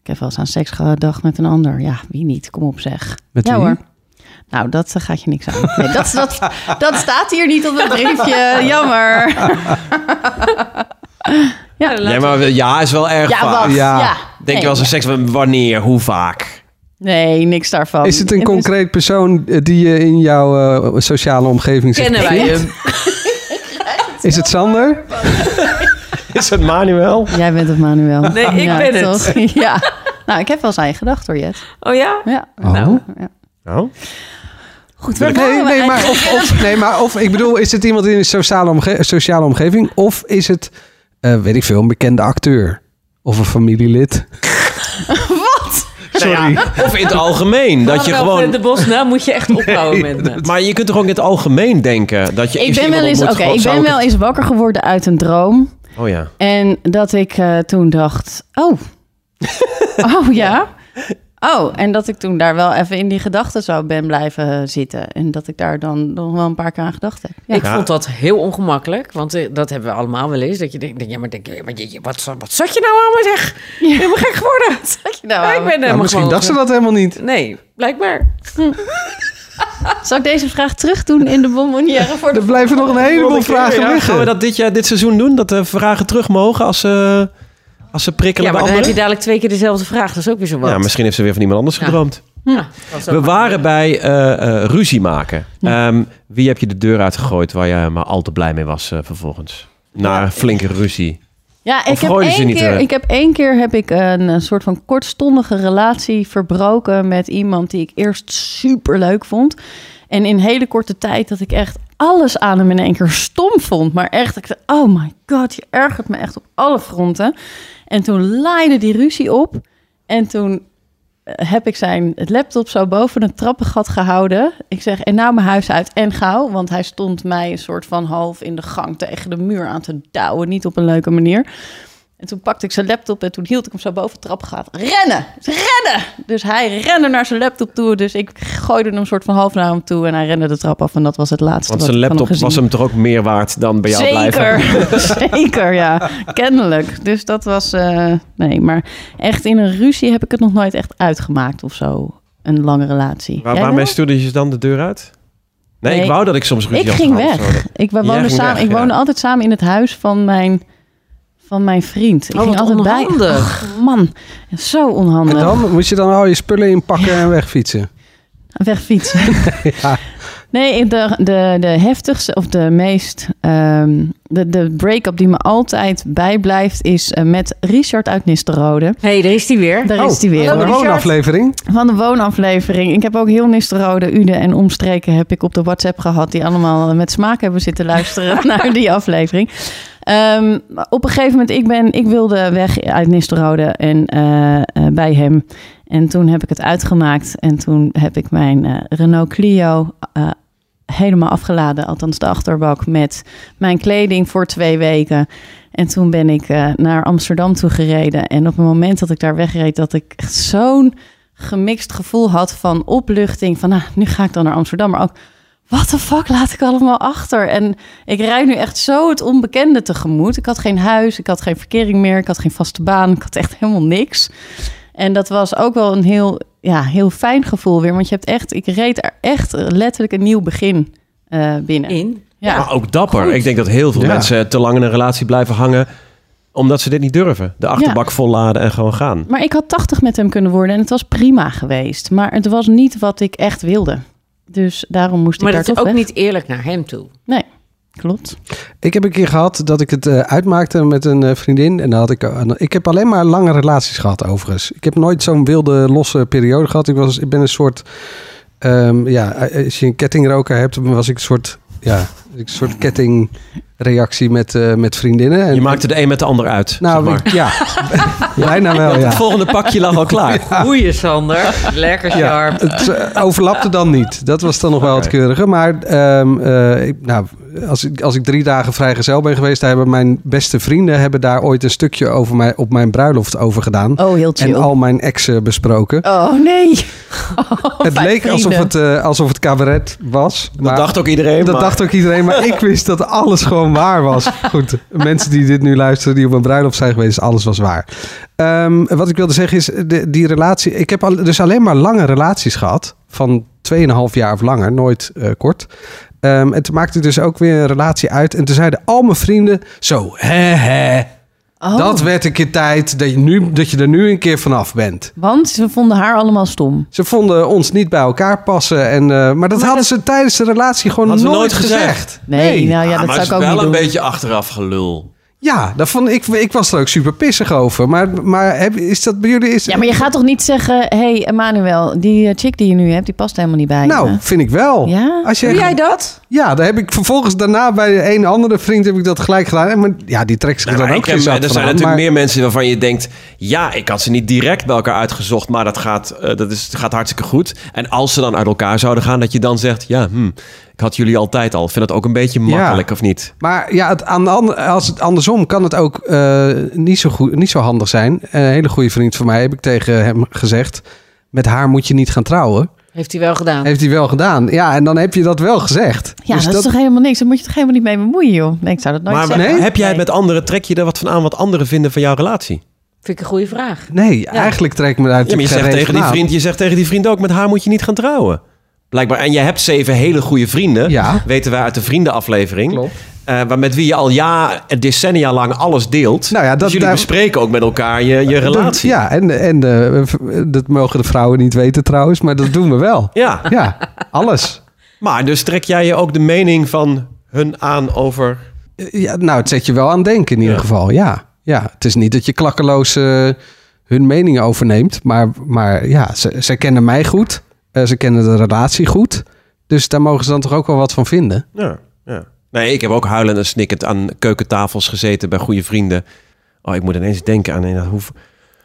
Ik heb wel eens aan seks gedacht met een ander. Ja, wie niet? Kom op zeg.
Met
ja
wie?
hoor. Nou, dat eh, gaat je niks aan. Nee, dat, dat, dat staat hier niet op het briefje. Jammer. ja,
Ja, maar ja is wel erg
ja,
vaak.
wacht. Ja.
Ja.
Denk je wel eens aan seks, van wanneer, hoe vaak?
Nee, niks daarvan.
Is het een
dus-
concreet?
concreet persoon eh, die je in jouw eh, sociale omgeving zit?
Kennen wij hem?
Is het Sander?
Is het Manuel?
Jij bent het, Manuel.
Nee, ik ben het.
het. Ja. Nou, ik heb wel eens aan je gedacht hoor, Jet.
Oh ja?
Ja.
Nou.
Ja.
Nou,
Goed,
Nee, nee, maar of, of, nee, maar of ik bedoel, is het iemand in een sociale, omge- sociale omgeving? Of is het, eh, weet ik veel, een bekende acteur? Of een familielid? Wat? Sorry.
of in het algemeen. dat je gewoon...
de bos, nou moet je echt ophouden met me.
Maar je kunt toch ook in het algemeen denken dat je.
Ik
is er
ben wel eens,
iemand ontmoet,
oké,
gewoon,
ik
zou
ben wel eens wakker geworden uit een droom.
het- Oh ja.
En dat ik eh, toen dacht, oh, oh ja. Oh, en dat ik toen daar wel even in die gedachten zou ben blijven eh, zitten. En dat ik daar dan nog wel een paar keer aan gedacht heb. Ja.
Ik vond dat heel ongemakkelijk, want eh, dat hebben we allemaal wel eens. Dat je denkt, ja, maar denk, je, maar je- je- wat, wat zat je nou allemaal zeg? Helemaal gek geworden.
Zat je nou
Ja, ik
aan?
ben helemaal
Nou, misschien
gewoon-
dacht ze dat helemaal niet.
Nee, blijkbaar.
Zal ik deze vraag terug doen in de bonbonnière voor de...
Er blijven nog een heleboel vragen
Ja,
liggen.
gaan we dat dit, jaar, dit seizoen doen? Dat de vragen terug mogen als ze, als ze prikkelen
Ja, maar
bij
dan heb je
anderen?
dadelijk twee keer dezelfde vraag. Dat is ook weer zo wat.
Ja, misschien heeft ze weer van iemand anders
Ja.
gedroomd.
Ja, dat is ook
We
waar.
waren bij eh, eh, ruzie maken. Ehm, wie heb je de deur uitgegooid waar je maar al te blij mee was eh, vervolgens? Na flinke ruzie.
Ja, ik
Of
heb,
gooiden ze
één
niet
keer,
eruit?
ik heb één keer heb ik een, eh, soort van kortstondige relatie verbroken met iemand die ik eerst super leuk vond. En in hele korte tijd dat ik echt alles aan hem in één keer stom vond. Maar echt, ik dacht, oh my god, je ergert me echt op alle fronten. En toen laaide die ruzie op. En toen eh, heb ik zijn laptop zo boven een trappengat gehouden. Ik zeg, en nou mijn huis uit en gauw. Want hij stond mij een soort van half in de gang tegen de muur aan te douwen. Niet op een leuke manier. En toen pakte ik zijn laptop en toen hield ik hem zo boven het trapgat. Rennen! Rennen! Dus hij rende naar zijn laptop toe. Dus ik gooide hem soort van half naar hem toe. En hij rende de trap af. En dat was het laatste
Want
wat
zijn
ik van hem
laptop
gezien
was hem toch ook meer waard dan bij jou blijven?
zeker, zeker, ja. Kennelijk. Dus dat was... eh, nee, maar echt in een ruzie heb ik het nog nooit echt uitgemaakt of zo. Een lange relatie.
Waar,
Jij
waarmee
wel?
stuurde je ze dan de deur uit? Nee, ik
Nee.
wou dat ik soms ruzie
Ik
had
ging
gehad of
weg.
zo. Dat-
Ik, we
Jij
woonde
ging
samen,
weg,
ik woonde
ja.
altijd samen in het huis van mijn, van mijn vriend. Ik
Oh,
ging
wat
altijd bij...
onhandig.
Ach, man, zo
En
onhandig.
dan moest je dan al je spullen inpakken en wegfietsen.
Wegfietsen. Nee, de, de, de heftigste of de meest... ehm, de, de break-up die me altijd bijblijft is eh, met Richard uit Nisterode.
hey, daar is die weer.
Daar
Oh,
is hij weer.
Een woonaflevering.
Van de woonaflevering. Ik heb ook heel Nisterode, Ude en omstreken heb ik op de WhatsApp gehad. Die allemaal met smaak hebben zitten luisteren naar die aflevering. Ehm, maar op een gegeven moment, ik, ben, ik wilde weg uit Nisterode en eh, eh, bij hem. En toen heb ik het uitgemaakt. En toen heb ik mijn eh, Renault Clio eh, helemaal afgeladen. Althans de achterbak met mijn kleding voor twee weken. En toen ben ik eh, naar Amsterdam toe gereden. En op het moment dat ik daar wegreed, dat ik echt zo'n gemixt gevoel had van opluchting. Van nou, nu ga ik dan naar Amsterdam. Maar ook, wat de fuck laat ik allemaal achter? En ik rijd nu echt zo het onbekende tegemoet. Ik had geen huis, ik had geen verkering meer, ik had geen vaste baan. Ik had echt helemaal niks. En dat was ook wel een heel, ja, heel fijn gevoel weer. Want je hebt echt, ik reed er echt letterlijk een nieuw begin eh, binnen.
In.
Ja.
Maar ook dapper. Ik denk dat heel veel
Ja.
mensen te lang in een relatie blijven hangen omdat ze dit niet durven. De achterbak volladen en gewoon gaan.
Maar ik had 80 met hem kunnen worden en het was prima geweest. Maar het was niet wat ik echt wilde. Dus daarom moest ik
Maar
daar
dat is
toch
ook
weg.
niet eerlijk naar hem toe.
Nee, klopt.
Ik heb een keer gehad dat ik het eh, uitmaakte met een eh, vriendin. En dan had ik, eh, een- ik heb alleen maar lange relaties gehad, overigens. Ik heb nooit zo'n wilde, losse periode gehad. Ik, was, ik ben een soort. ehm, ja, eh, als je een kettingroker hebt, dan was ik een soort. Ja, een soort kettingreactie met, eh, met vriendinnen. En,
Je maakte de een met de ander uit.
Nou,
zeg maar.
ik- ja. Bijna wel,
Het
ja.
volgende pakje lag al klaar.
Goeie, Sander. Lekker
Ja, het eh, overlapte dan niet. Dat was dan nog wel het
Oké.
keurige. Maar ehm, eh, ik- nou, als, ik, als ik drie dagen vrijgezel ben geweest, daar hebben mijn beste vrienden hebben daar ooit een stukje over mij, op mijn bruiloft over gedaan.
Oh, heel chill.
En al mijn exen besproken.
Oh nee.
het leek alsof
Oh, vrienden.
het, eh, alsof het cabaret was.
Dat dacht ook iedereen.
dat
maar-
dacht ook iedereen, maar ik wist dat alles gewoon waar was. Goed, mensen die dit nu luisteren, die op mijn bruiloft zijn geweest, alles was waar. Ehm, wat ik wilde zeggen is, de, die relatie... Ik heb al, dus alleen maar lange relaties gehad, van 2,5 jaar of langer, nooit eh, kort. Ehm, en toen maakte ik dus ook weer een relatie uit. En toen zeiden al mijn vrienden, zo, hè hè,
Oh,
dat werd een keer tijd dat je, nu, dat je er nu een keer vanaf bent.
Want ze vonden haar allemaal stom.
Ze vonden ons niet bij elkaar passen. En, eh, maar dat hadden ze tijdens de relatie gewoon nooit,
Hadden ze nooit
gezegd.
gezegd.
Nee, nou ja, dat
Ah, maar
zou
het
ik
is
ook
wel
niet
een
doen.
beetje achteraf gelul.
Ja, dat vond ik, ik was er ook super pissig over. Maar, maar heb, is dat bij jullie... Is,
Ja, maar je gaat toch niet zeggen, hé hey, Emmanuel, die eh, chick die je nu hebt, die past helemaal niet bij
Nou,
je.
vind ik wel.
Ja?
Als je,
Doe jij dat?
ja, daar heb ik vervolgens daarna bij een andere vriend heb ik dat gelijk gedaan. En Maar, ja, die trekt zich
Nou,
er
maar
dan
ik
ook
heb-
geen zak
er
van
zijn
aan,
natuurlijk
maar-
meer mensen waarvan je denkt... ja, ik had ze niet direct bij elkaar uitgezocht... maar dat gaat, eh, dat is, gaat hartstikke goed. En als ze dan uit elkaar zouden gaan... dat je dan zegt, ja, hm, ik had jullie altijd al. Ik vind dat ook een beetje makkelijk, of niet?
Maar ja, het, aan de ander- als het andersom kan het ook eh, niet, zo goed, niet zo handig zijn. Een hele goede vriend van mij heb ik tegen hem gezegd. met haar moet je niet gaan trouwen.
Heeft hij wel gedaan.
Heeft hij wel gedaan. Ja, en dan heb je dat wel gezegd.
Ja,
Dus
dat, is toch helemaal niks. Daar moet je toch helemaal niet mee bemoeien, joh. Nee, ik zou dat nooit
Maar
zeggen.
heb jij het
Nee.
met anderen, trek je er wat van aan wat anderen vinden van jouw relatie?
Vind ik een goede vraag.
Nee, eigenlijk trek ik me daar
Ja, maar je
natuurlijk geen
zegt, tegen
rekening
die
aan.
vriend, je zegt tegen die vriend ook, met haar moet je niet gaan trouwen. Blijkbaar. En jij hebt zeven hele goede vrienden.
Ja.
Weten wij uit de vriendenaflevering.
Klopt.
Eh, waar- met wie je al ja, decennia lang alles deelt.
Nou ja, dat-
dus jullie
daar-
bespreken ook met elkaar je, je relatie.
Ja, en, en eh, dat mogen de vrouwen niet weten trouwens, maar dat doen we wel.
Ja.
Ja, alles.
Maar dus trek jij je ook de mening van hun aan over...
Ja, nou, het zet je wel aan het denken in ieder
Ja.
geval, ja. ja. Het is niet dat je klakkeloos eh, hun mening overneemt. Maar, maar ja, ze, ze kennen mij goed. eh, ze kennen de relatie goed. Dus daar mogen ze dan toch ook wel wat van vinden.
Ja, ja. Nee, ik heb ook huilend en snikkend aan keukentafels gezeten bij goede vrienden. Oh, ik moet ineens denken aan... een- Hoe,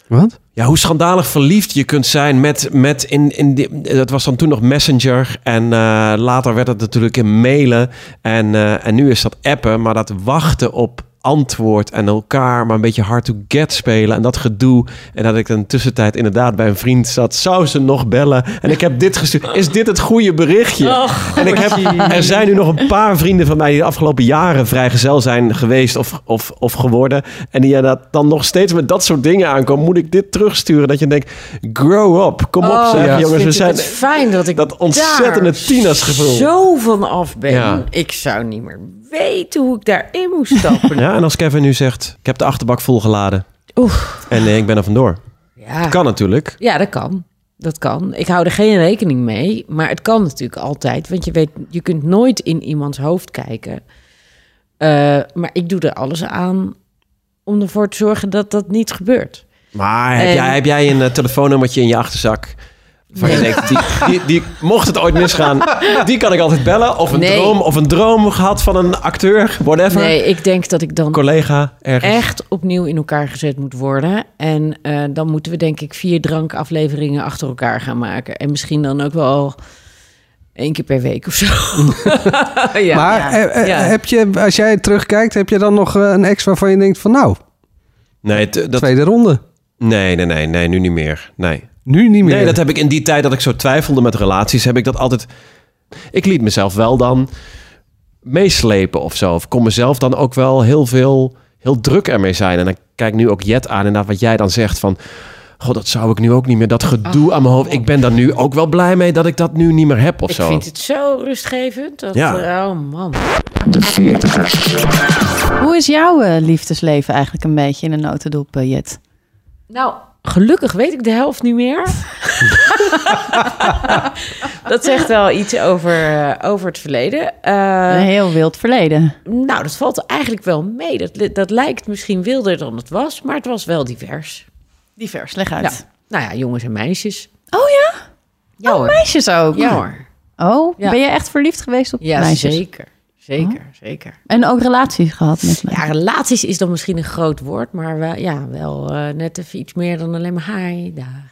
Wat?
Ja, hoe schandalig verliefd je kunt zijn met, met in, in die, dat was dan toen nog Messenger en eh, later werd het natuurlijk in mailen en, eh, en nu is dat appen, maar dat wachten op antwoord en elkaar maar een beetje hard to get spelen en dat gedoe en dat ik in de tussentijd inderdaad bij een vriend zat, zou ze nog bellen en ik heb dit gestuurd, is dit het goede berichtje?
Oh,
en ik heb, er zijn nu nog een paar vrienden van mij die de afgelopen jaren vrijgezel zijn geweest of, of, of geworden en die ja, dat dan nog steeds met dat soort dingen aankomen, moet ik dit terugsturen dat je denkt, grow up, kom op zeg,
ja.
jongens, we
Oh, vind
zijn...
ik het fijn dat ik
dat ontzettende
daar
tienersgevoel.
zo van af ben.
Ja.
Ik zou niet meer weten hoe ik daarin moest stappen.
Ja, en als Kevin nu zegt, ik heb de achterbak volgeladen
Oeh,
en eh, ik ben er vandoor.
ja.
Kan natuurlijk.
ja, dat kan. Dat kan. Ik hou er geen rekening mee, maar het kan natuurlijk altijd. Want je weet, je kunt nooit in iemands hoofd kijken. Eh, maar ik doe er alles aan om ervoor te zorgen dat dat niet gebeurt.
Maar heb,
En-
jij, heb jij een eh, telefoonnummertje in je achterzak? Van je denkt, die, die, die, mocht het ooit misgaan, die kan ik altijd bellen. Of een,
Nee.
droom, of een droom gehad van een acteur, whatever.
Nee, ik denk dat ik dan
Collega, ergens.
echt opnieuw in elkaar gezet moet worden. En eh, dan moeten we denk ik vier drankafleveringen achter elkaar gaan maken. En misschien dan ook wel één keer per week of zo. ja.
maar eh, eh,
ja.
heb je, als jij terugkijkt, heb je dan nog eh, een ex waarvan je denkt van nou,
Nee, t- dat,
tweede ronde.
nee, nee, nee, nee, nu niet meer. Nee.
Nu niet meer.
Nee, dat heb ik in die tijd dat ik zo twijfelde met relaties, heb ik dat altijd. Ik liet mezelf wel dan meeslepen of zo. Of kon mezelf dan ook wel heel veel, heel druk ermee zijn. En dan kijk ik nu ook Jet aan en naar wat jij dan zegt van. God, dat zou ik nu ook niet meer. Dat gedoe aan mijn hoofd. Ik ben daar nu ook wel blij mee dat ik dat nu niet meer heb of
Ik
zo.
vind het zo rustgevend. Dat,
Ja.
Oh man.
Hoe is jouw eh, liefdesleven eigenlijk een beetje in een notendop, eh, Jet?
Nou, gelukkig weet ik de helft niet meer. dat zegt wel iets over, eh, over het verleden. Eh,
een heel wild verleden.
Nou, dat valt eigenlijk wel mee. Dat, li- dat lijkt misschien wilder dan het was, maar het was wel divers.
Divers, leg
Ja.
uit.
Nou ja, jongens en meisjes.
Oh ja?
Ja Oh, hoor.
Meisjes ook?
Ja hoor.
Oh,
Ja.
ben je echt verliefd geweest op
Ja,
meisjes?
zeker. Zeker, zeker.
En ook relaties gehad met mij?
Ja, relaties is dan misschien een groot woord, maar wel, ja, wel eh, net even iets meer dan alleen maar hi, daar.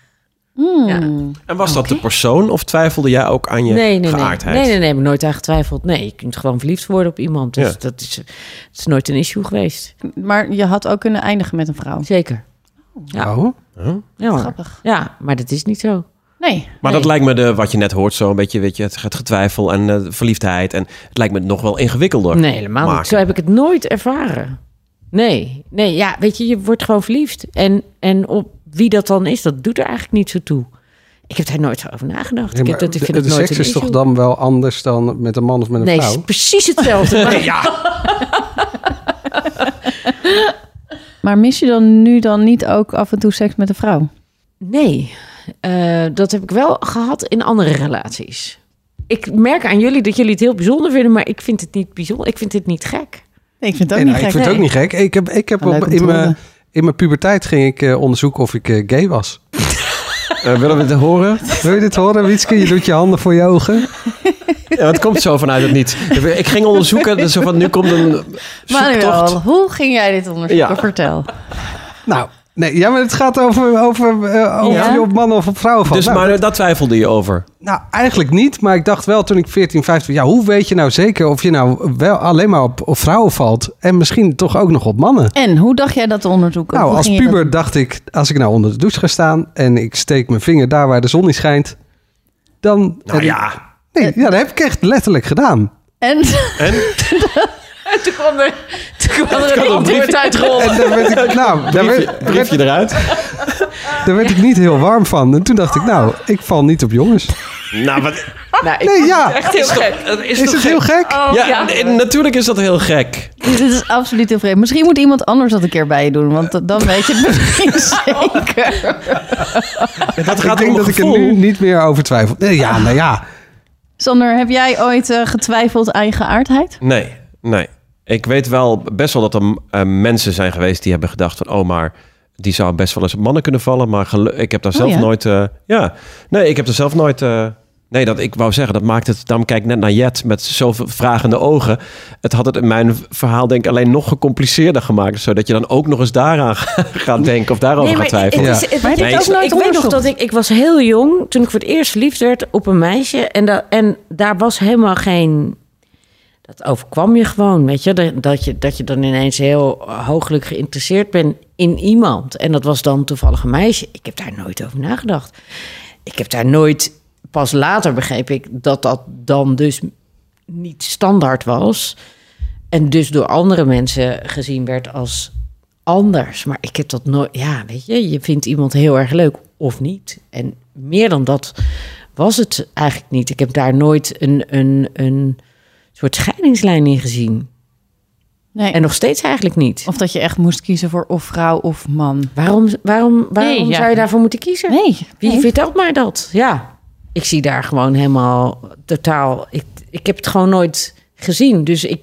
Hmm.
En was dat de persoon of twijfelde jij ook aan je
nee, nee, nee.
geaardheid?
Nee, nee, nee, maar nooit aan getwijfeld. Nee, je kunt gewoon verliefd worden op iemand. Dus
Ja.
dat, is, dat is nooit een issue geweest.
Maar je had ook kunnen eindigen met een vrouw.
Zeker. Ja.
Oh.
Ja, hoor.
Grappig.
Ja, maar dat is niet zo.
Nee.
Nee.
Maar dat lijkt me de, wat je net hoort, zo een beetje weet je, het, het getwijfel en eh, verliefdheid. En het lijkt me nog wel ingewikkelder.
Nee, helemaal
maken.
niet. Zo heb ik het nooit ervaren. Nee, nee, ja, weet je, je wordt gewoon verliefd. En, en op wie dat dan is, dat doet er eigenlijk niet zo toe. Ik heb daar nooit zo over nagedacht.
Ja,
ik
maar
heb dat, ik
de
vind
de
het nooit
seks
een
is toch
issue.
dan wel anders dan met een man of met een
Nee,
vrouw?
het is precies hetzelfde. Maar
Maar mis je dan nu dan niet ook af en toe seks met een vrouw?
Nee, eh, dat heb ik wel gehad in andere relaties. Ik merk aan jullie dat jullie het heel bijzonder vinden, maar ik vind het niet bijzonder. Ik vind dit niet gek.
Nee, ik vind
Nee, nou, ik vind het ook niet gek. Ik heb, ik heb
Maar leuk
op-
om te
in, mijn,
horen.
in mijn puberteit ging ik eh, onderzoeken of ik eh, gay was.
Eh, willen we het horen?
Wil je dit horen, Wietske? Je doet je handen voor je ogen.
Ja, het komt zo vanuit het niet. Ik ging onderzoeken, dus zo van nu komt een
Manuel,
zoektocht.
hoe ging jij dit onderzoeken?
Ja.
Vertel.
Nou, Nee, ja, maar het gaat over, over, eh, over
Ja?
je op mannen of op vrouwen valt.
Dus
Nou,
maar daar twijfelde je over.
Nou, eigenlijk niet. Maar ik dacht wel toen ik 14, 15... Ja, hoe weet je nou zeker of je nou wel alleen maar op, op vrouwen valt... en misschien toch ook nog op mannen?
En hoe dacht jij dat te onderzoeken?
Nou,
Hoe
als
ging je
puber dacht ik... als ik nou onder de douche ga staan... en ik steek mijn vinger daar waar de zon niet schijnt... dan...
Nou
en-
ja.
Nee, Ah, ja, dat heb ik echt letterlijk gedaan.
dat- En
En toen kwam er, toen kwam er een
een
antwoord
briefje.
uitgerold.
En daar werd ik, nou, daar werd,
Briefje, briefje eruit.
daar werd ik niet heel warm van. En toen dacht ik, nou, ik val niet op jongens.
Nou, wat,
Nou, ik
Ah, Nee, ja.
echt heel gek.
is,
Is
toch
het heel gek?
Oh,
Ja,
ja.
en natuurlijk is dat heel gek.
dit is absoluut heel vreemd. Misschien moet iemand anders dat een keer bij je doen, want dat- dan weet je het misschien zeker.
Dat
Ik
gaat
denk
om
dat ik er
gevoel.
nu niet meer over twijfel. Nee, ja, nou ja.
Sander, heb jij ooit eh, getwijfeld aan je geaardheid?
Nee, nee. Ik weet wel best wel dat er eh, mensen zijn geweest die hebben gedacht van... oh, maar die zou best wel eens op mannen kunnen vallen. Maar gelu- ik heb daar
Oh,
zelf
ja?
nooit... eh, ja, nee, ik heb er zelf nooit... eh, nee, dat, ik wou zeggen, dat maakt het... Daarom kijk ik net naar Jet met zoveel vragende ogen. Het had het in mijn verhaal denk ik alleen nog gecompliceerder gemaakt. Zodat je dan ook nog eens daaraan gaat denken of daarover gaat twijfelen.
het is-
Maar heb je
Nee,
het ook nooit
ik weet nog
onderzocht?
dat ik, ik was heel jong toen ik voor het eerst verliefd werd op een meisje. En, dat, en daar was helemaal geen... Dat overkwam je gewoon, weet je. Dat- Dat je, dat je dan ineens heel hooglijk geïnteresseerd bent in iemand. En dat was dan toevallig een meisje. Ik heb daar nooit over nagedacht. Ik heb daar nooit... Pas later begreep ik dat dat dan dus niet standaard was. En dus door andere mensen gezien werd als anders. Maar ik heb dat nooit. Ja, weet je, je vindt iemand heel erg leuk of niet. En meer dan dat was het eigenlijk niet. Ik heb daar nooit een, een, een soort scheidingslijn in gezien.
Nee.
En nog steeds eigenlijk niet.
Of dat je echt moest kiezen voor of vrouw of man?
Waarom, waarom, waarom
Nee, ja.
zou je daarvoor moeten kiezen?
Nee.
Wie
nee.
vertelt mij dat? Ja, ik zie daar gewoon helemaal totaal. Ik, ik heb het gewoon nooit gezien. Dus ik.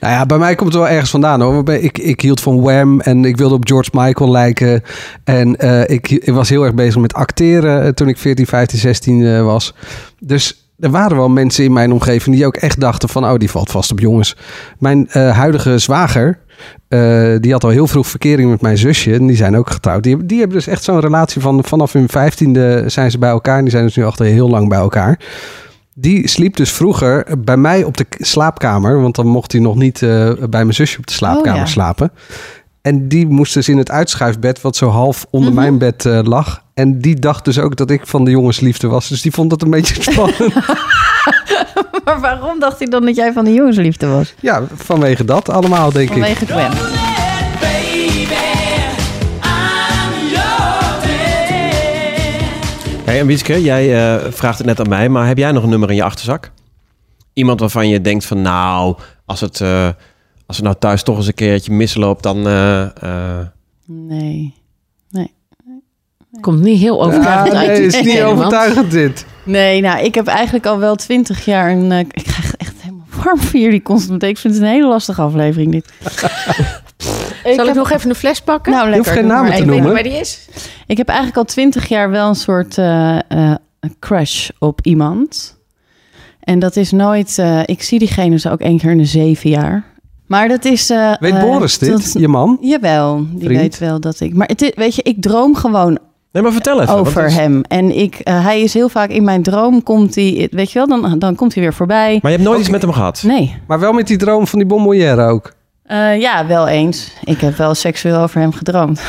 Nou ja, bij mij komt het wel ergens vandaan hoor. Waarbij Ik, ik hield van Wham en ik wilde op George Michael lijken. En eh, ik, ik was heel erg bezig met acteren eh, toen ik 14, 15, 16 eh, was. Dus er waren wel mensen in mijn omgeving die ook echt dachten van... oh, die valt vast op jongens. Mijn eh, huidige zwager, eh, die had al heel vroeg verkering met mijn zusje. En die zijn ook getrouwd. Die, hebben- die hebben dus echt zo'n relatie van vanaf hun vijftiende zijn ze bij elkaar. En die zijn dus nu achter heel lang bij elkaar. Die sliep dus vroeger bij mij op de k- slaapkamer. Want dan mocht hij nog niet eh, bij mijn zusje op de slaapkamer
Oh, ja.
slapen. En die moest dus in het uitschuifbed, wat zo half onder
Mhm.
mijn bed eh, lag. En die dacht dus ook dat ik van de jongensliefde was. Dus die vond dat een beetje spannend.
Maar waarom dacht hij dan dat jij van de jongensliefde was?
ja, vanwege dat allemaal, denk ik.
Vanwege Gwen.
Hey, en Wieske, jij eh, vraagt het net aan mij, maar heb jij nog een nummer in je achterzak? Iemand waarvan je denkt van, nou, als het, eh, als het nou thuis toch eens een keertje misloopt, dan... eh, eh,
Nee.
Komt niet heel
Ja,
overtuigend uit.
Ah, nee, is niet
Nee, man.
overtuigend dit.
Nee, nou, ik heb eigenlijk al wel twintig jaar een... eh, ik krijg echt helemaal warm voor jullie constant. Ik vind het een hele lastige aflevering, dit.
Zal ik
heb-
nog even een fles pakken?
Nou,
Je hoeft
lekker. doe
geen namen
maar
te
één.
noemen.
waar die is.
Ik heb eigenlijk al twintig jaar wel een soort eh, eh, een crush op iemand. En dat is nooit... eh, ik zie diegene zo ook één keer in de zeven jaar. Maar dat is... eh,
Weet
eh,
Boris dit,
dat is-
je man?
Jawel, die
Vriend?
weet wel dat ik... Maar het, is- weet je, ik droom gewoon
Nee, maar vertel even. want
over
het is-
hem. En ik, eh, hij is heel vaak in mijn droom, komt hij... Weet je wel, dan, dan komt hij weer voorbij.
Maar je hebt nooit iets met hem gehad?
Nee.
Maar wel met die droom van die bonbonnière ook.
Eh, ja, wel eens. Ik heb wel seksueel over hem gedroomd.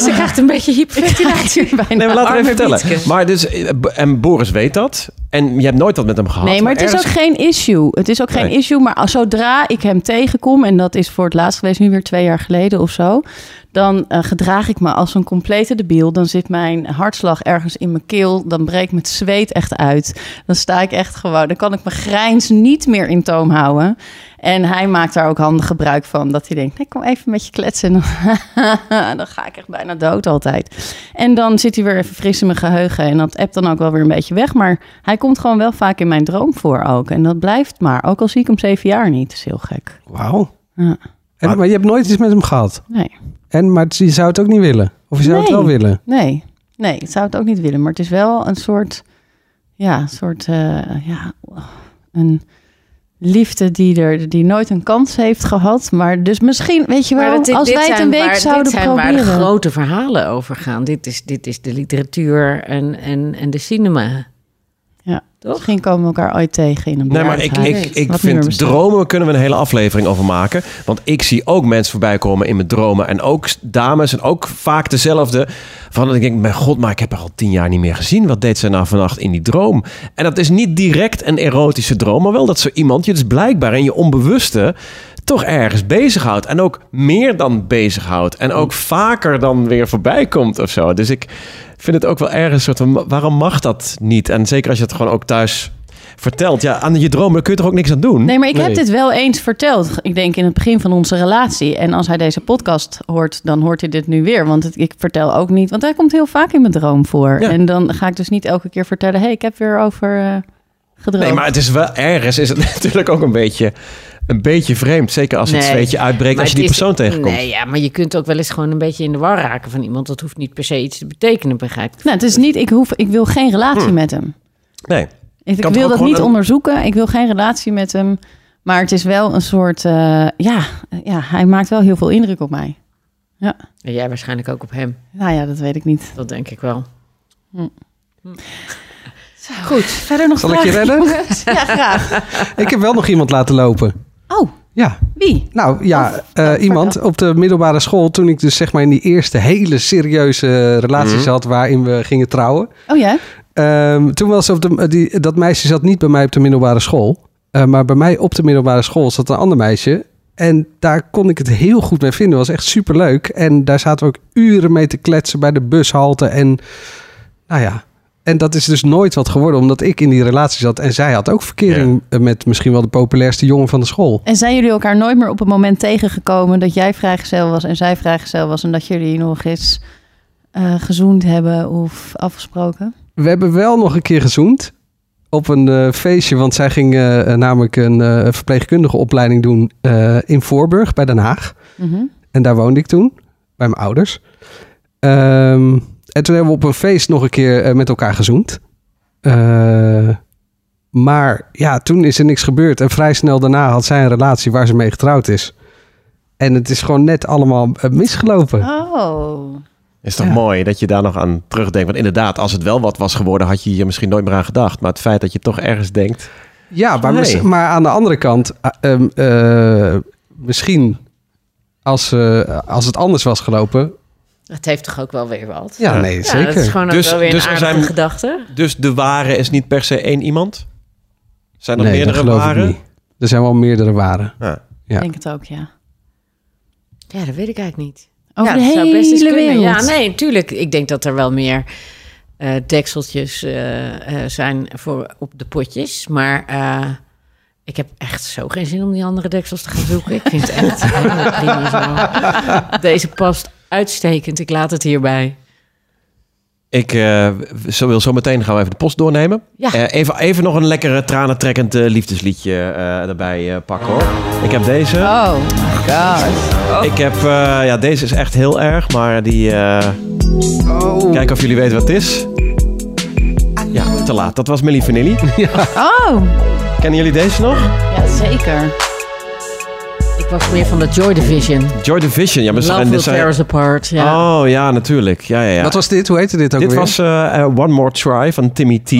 ze krijgt een beetje hyperventilatie.
Bijna
Nee, maar laat even
arme
vertellen.
Pietske.
Maar dus, eh, b- en Boris weet dat. En je hebt nooit wat met hem gehad.
Nee, maar het is ook
ergens-
geen issue. Het is ook geen
Nee.
issue. Maar als, zodra ik hem tegenkom, en dat is voor het laatst geweest, nu weer twee jaar geleden of zo, dan eh, gedraag ik me als een complete debiel. Dan zit mijn hartslag ergens in mijn keel. Dan breekt mijn zweet echt uit. Dan sta ik echt gewoon. Dan kan ik mijn grijns niet meer in toom houden. En hij maakt daar ook handig gebruik van. Dat hij denkt, nee, kom even met je kletsen. En dan ga ik echt bijna dood altijd. En dan zit hij weer even fris in mijn geheugen. En dat appt dan ook wel weer een beetje weg. Maar hij komt gewoon wel vaak in mijn droom voor ook. En dat blijft maar. Ook al zie ik hem zeven jaar niet. Dat is heel gek.
Wauw.
Ja.
En, maar je hebt nooit iets met hem gehad.
Nee.
En, maar je zou het ook niet willen. Of je zou het
Nee.
wel willen.
Nee. Nee, ik zou het ook niet willen. Maar het is wel een soort... Ja, een soort... eh, ja, een liefde die, er, die nooit een kans heeft gehad. Maar dus misschien, weet je
Maar
wel,
dat dit-
als
dit
wij het
zijn
een week
waar-
zouden
dit zijn
proberen.
waar de grote verhalen over gaan. Dit is, dit is de literatuur en, en, en de cinema.
Ja.
Toch?
Misschien komen we elkaar ooit tegen in een
Nee, maar ik,
bejaardenhuis.
ik, ik
Wat niet meer
vind
bestaat.
dromen kunnen we een hele aflevering over maken. Want ik zie ook mensen voorbij komen in mijn dromen. En ook s- dames en ook vaak dezelfde. Van dat ik denk, mijn god, maar ik heb haar al tien jaar niet meer gezien. Wat deed zij nou vannacht in die droom? En dat is niet direct een erotische droom. Maar wel dat zo iemand je dus blijkbaar in je onbewuste toch ergens bezighoudt. En ook meer dan bezighoudt. En ook vaker dan weer voorbij komt of zo. Dus ik vind het ook wel ergens een soort van... ma- waarom mag dat niet? En zeker als je het gewoon ook thuis vertelt. Ja, aan je dromen kun je toch ook niks aan doen?
Nee, maar ik
Nee.
heb dit wel eens verteld. Ik denk in het begin van onze relatie. En als hij deze podcast hoort, dan hoort hij dit nu weer. Want het- ik vertel ook niet. Want hij komt heel vaak in mijn droom voor.
Ja.
En dan ga ik dus niet elke keer vertellen: hé, hey, ik heb weer over eh gedroomd.
Nee, maar het is wel ergens is het natuurlijk ook een beetje, een beetje vreemd. Zeker als het
Nee.
zweetje uitbreekt
Maar
als je die
het is-
persoon tegenkomt.
Nee, ja, maar je kunt ook wel eens gewoon een beetje in de war raken van iemand. Dat hoeft niet per se iets te betekenen, begrijp ik.
Nou, het is niet, ik, hoef, ik wil geen relatie met hem.
Nee.
Ik,
Hmm. Kan toch
wil
ook
dat
gewoon
niet
een-
onderzoeken. Ik wil geen relatie met hem. Maar het is wel een soort. eh, ja, ja, hij maakt wel heel veel indruk op mij.
En jij waarschijnlijk ook op hem.
Nou ja, dat weet ik niet.
Dat denk ik wel.
Goed, verder nog
Zal ik je
vragen,
redden?
jongens? Ja, graag.
Ik heb wel nog iemand laten lopen.
Oh,
Ja,
wie?
nou ja, eh, iemand op de middelbare school. Toen ik dus zeg maar in die eerste hele serieuze relatie zat waarin we gingen trouwen.
Oh ja?
Ehm, toen was op de, die, dat meisje zat niet bij mij op de middelbare school. Eh, maar bij mij op de middelbare school zat een ander meisje. En daar kon ik het heel goed mee vinden. was echt superleuk. En daar zaten we ook uren mee te kletsen bij de bushalte. En nou ja. En dat is dus nooit wat geworden, omdat ik in die relatie zat. En zij had ook verkering eh, met misschien wel de populairste jongen van de school.
En zijn jullie elkaar nooit meer op het moment tegengekomen dat jij vrijgezel was en zij vrijgezel was en dat jullie nog eens eh, gezoend hebben of afgesproken?
We hebben wel nog een keer gezoend op een eh, feestje. Want zij ging eh, namelijk een eh, verpleegkundige opleiding doen eh, in Voorburg bij Den Haag.
Mhm.
En daar woonde ik toen, bij mijn ouders. Ehm, en toen hebben we op een feest nog een keer eh, met elkaar gezoend. Eh, maar ja, toen is er niks gebeurd. En vrij snel daarna had zij een relatie waar ze mee getrouwd is. En het is gewoon net allemaal eh, misgelopen.
Oh.
Is toch
Ja.
mooi dat je daar nog aan terugdenkt. Want inderdaad, als het wel wat was geworden, had je hier misschien nooit meer aan gedacht. Maar het feit dat je toch ergens denkt.
Ja, maar,
Oh, Nee.
mis- maar aan de andere kant, ah, ehm, eh, misschien als, eh, als het anders was gelopen.
Dat heeft toch ook wel weer wat?
Ja,
Ja.
nee,
Ja, dat is
zeker.
gewoon ook
Dus-
wel weer een
dus er
aardige
zijn-
gedachte.
Dus de ware is niet per se één iemand? Zijn er
Nee, dat
meerdere
geloof
waren?
ik niet. Er zijn wel meerdere waren.
Ja.
Ja.
Ik denk het ook, ja.
Ja, dat weet ik eigenlijk niet.
Over
ja,
de
dat
hele
zou best eens kunnen.
wereld.
Ja, nee, tuurlijk. Ik denk dat er wel meer eh, dekseltjes eh, eh, zijn voor op de potjes. Maar eh, ik heb echt zo geen zin om die andere deksels te gaan zoeken. Ik vind het echt helemaal prima zo. Deze past uitstekend. Ik laat het hierbij.
Ik eh, zo wil zo meteen gaan we even de post doornemen.
Ja.
Eh, even, even nog een lekkere tranentrekkend eh, liefdesliedje eh, erbij eh, pakken hoor. Ik heb deze.
Oh, my god.
Ik heb, eh, ja, deze is echt heel erg, maar die. eh, Kijken of jullie weten wat het is. Ja, te laat. Dat was Millie Vanilli.
Oh,
Kennen jullie deze nog?
ja, zeker.
Ik was meer van de Joy Division.
Joy Division. Ja, maar ze
Love
zijn-
will
ze zijn-
tear us apart. Ja.
Oh ja, natuurlijk. Ja, ja, ja.
Wat was dit? Hoe heette dit ook
Dit
weer?
was eh, eh, One More Try van Oh, Timmy T.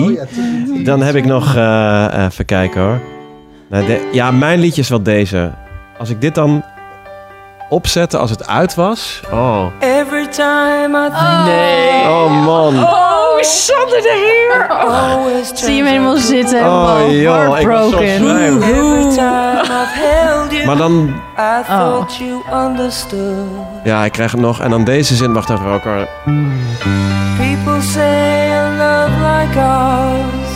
Dan heb ik nog. eh, even kijken hoor. Nou, de- ja, mijn liedje is wel deze. Als ik dit dan opzette als het uit was. Oh,
Every time I
Nee.
oh man.
Oh, Sander de Heer.
think always
Zie je hem helemaal zitten,
Oh,
helemaal
joh, ik was zo
heartbroken.
blij.
Every time I've held you,
Maar dan,
I
Oh.
thought you understood.
ja, ik krijg hem nog. En dan deze zin, wacht even, ook al.
People say a love like ours.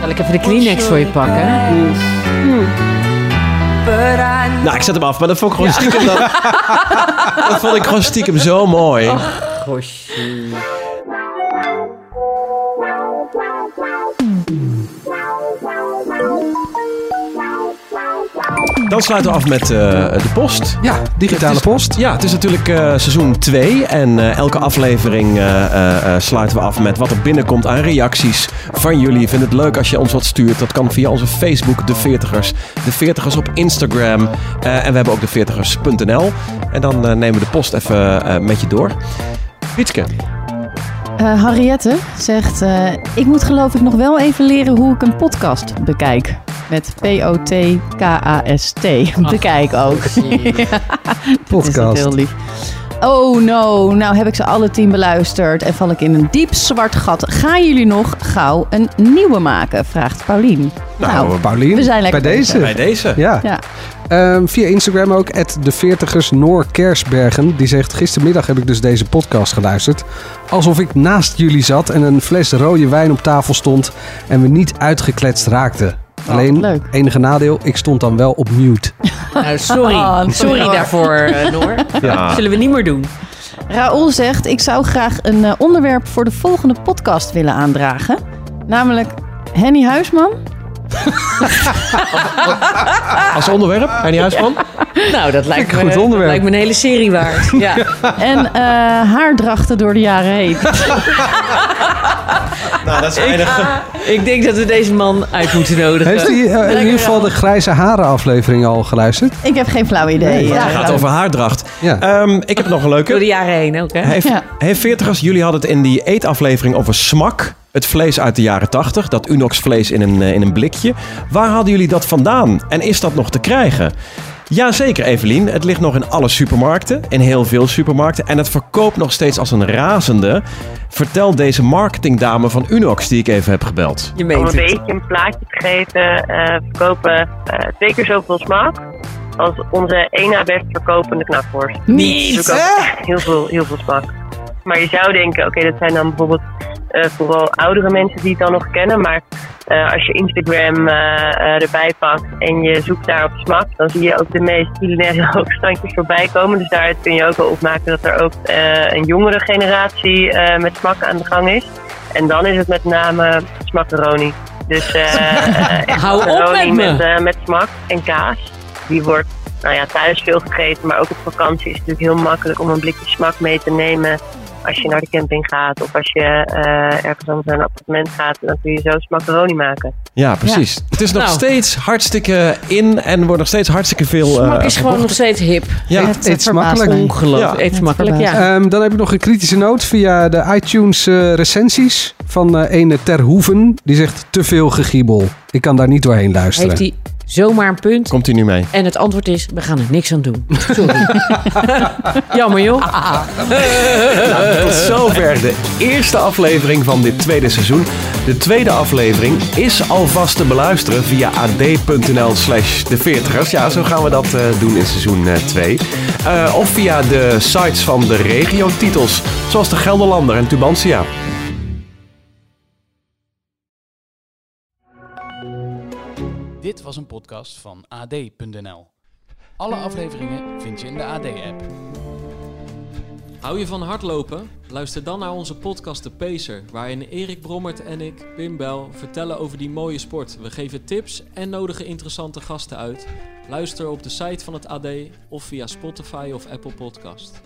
Zal ik even de
will
Kleenex voor je
surely
pakken? Hmm.
pass. But I know
Nou, ik zet hem af, maar dat vond ik gewoon stiekem. Dat, dat vond ik gewoon stiekem zo mooi. Dan sluiten we af met eh, de post.
Ja, digitale
Het is-
post.
Ja, het is natuurlijk eh, seizoen 2 en eh, elke aflevering eh, eh, eh, sluiten we af met wat er binnenkomt aan reacties van jullie. Ik Vind het leuk als je ons wat stuurt. Dat kan via onze Facebook, De Veertigers. De Veertigers op Instagram. Eh, en we hebben ook deveertigers.nl. En dan eh, nemen we de post even eh, met je door. Wietske,
Eh, Harriette zegt: eh, Ik moet geloof ik nog wel even leren hoe ik een podcast bekijk. Met P-O-T-K-A-S-T. Bekijk ook. Dat is dat heel
Podcast.
lief. Oh no, nou heb ik ze alle tien beluisterd en val ik in een diep zwart gat. Gaan jullie nog gauw een nieuwe maken? Vraagt Paulien.
Nou,
Paulien,
we zijn
bij
lekker
deze.
bij deze.
Ja.
Ja.
Ehm, via Instagram ook, de 40ers Noor Kersbergen. Die zegt, gistermiddag heb ik dus deze podcast geluisterd. Alsof ik naast jullie zat en een fles rode wijn op tafel stond en we niet uitgekletst raakten. Alleen,
leuk.
enige nadeel, ik stond dan wel op mute.
Nou, sorry.
Ah,
sorry
hoor.
daarvoor, eh, Noor.
Ja.
Zullen we niet meer doen.
Raoul zegt: Ik zou graag een eh, onderwerp voor de volgende podcast willen aandragen. Namelijk Henny Huisman.
Als onderwerp, Ernie Huisman.
Nou, dat lijkt,
een
me,
goed onderwerp.
dat lijkt me een hele serie waard. Ja.
En eh, haardrachten door de jaren heen.
Nou, dat is
ik, ik denk dat we deze man uit moeten nodigen.
Heeft hij eh, in ieder geval de grijze haren aflevering al geluisterd?
Ik heb geen flauw idee.
Het
Ja.
gaat over haardracht.
Ja.
Ehm, ik heb nog een leuke.
Door de jaren heen ook, hè?
Heeft,
Ja.
heeft veertigers, jullie hadden het in die eetaflevering over smak. Het vlees uit de jaren 80, dat Unox vlees in een, eh, in een blikje. Waar hadden jullie dat vandaan? En is dat nog te krijgen? Jazeker, Evelien. Het ligt nog in alle supermarkten, in heel veel supermarkten. En het verkoopt nog steeds als een razende. Vertel deze marketingdame van Unox, die ik even heb gebeld.
Je
om
meent
een
het.
beetje een plaatje te geven, eh, verkopen eh, twee keer zoveel smaak als onze één na best verkopende knakworst.
Niet,
Dus we kopen echt heel veel, heel veel smaak. Maar je zou denken, oké, dat zijn dan bijvoorbeeld eh, vooral oudere mensen die het dan nog kennen. Maar eh, als je Instagram eh, eh, erbij pakt en je zoekt daar op smaak, dan zie je ook de meest culinaire hoogstandjes voorbij komen. Dus daar kun je ook wel opmaken dat er ook eh, een jongere generatie eh, met smaak aan de gang is. En dan is het met name smakaroni. Dus eh, eh, echt
Hou op
macaroni
met me.
met, eh, met smak en kaas. Die wordt nou ja, thuis veel gegeten, maar ook op vakantie is het natuurlijk heel makkelijk om een blikje smak mee te nemen. Als je naar de camping gaat of als je eh, ergens anders naar een appartement gaat, dan kun je zo smacaroni maken.
Ja, precies. Het is nog
Nou.
steeds hartstikke in en wordt nog steeds hartstikke veel... eh,
Smak is gewoon nog steeds hip.
Ja.
Het, eh, verbaast
Eet smakelijk.
mij.
Ongelooflijk.
Ja.
Eet smakelijk, ja.
Ehm, dan heb ik nog een kritische noot via de iTunes eh, recensies van eh ene Terhoeven. Die zegt te veel gegiebel. Ik kan daar niet doorheen luisteren.
Heeft hij zomaar een punt.
Komt hij nu mee?
En het antwoord is, we gaan er niks aan doen. Sorry. Jammer, joh.
Tot zover de eerste aflevering van dit tweede seizoen. De tweede aflevering is alvast te beluisteren via ad.nl slash de veertigers. Ja, zo gaan we dat eh, doen in seizoen 2. of via de sites van de regiotitels, zoals de Gelderlander en Tubantia.
Dit was een podcast van AD.nl. Alle afleveringen vind je in de AD-app.
Hou je van hardlopen? Luister dan naar onze podcast De Pacer, waarin Erik Brommert en ik, Pim Bel, vertellen over die mooie sport. We geven tips en nodigen interessante gasten uit. Luister op de site van het AD of via Spotify of Apple Podcast.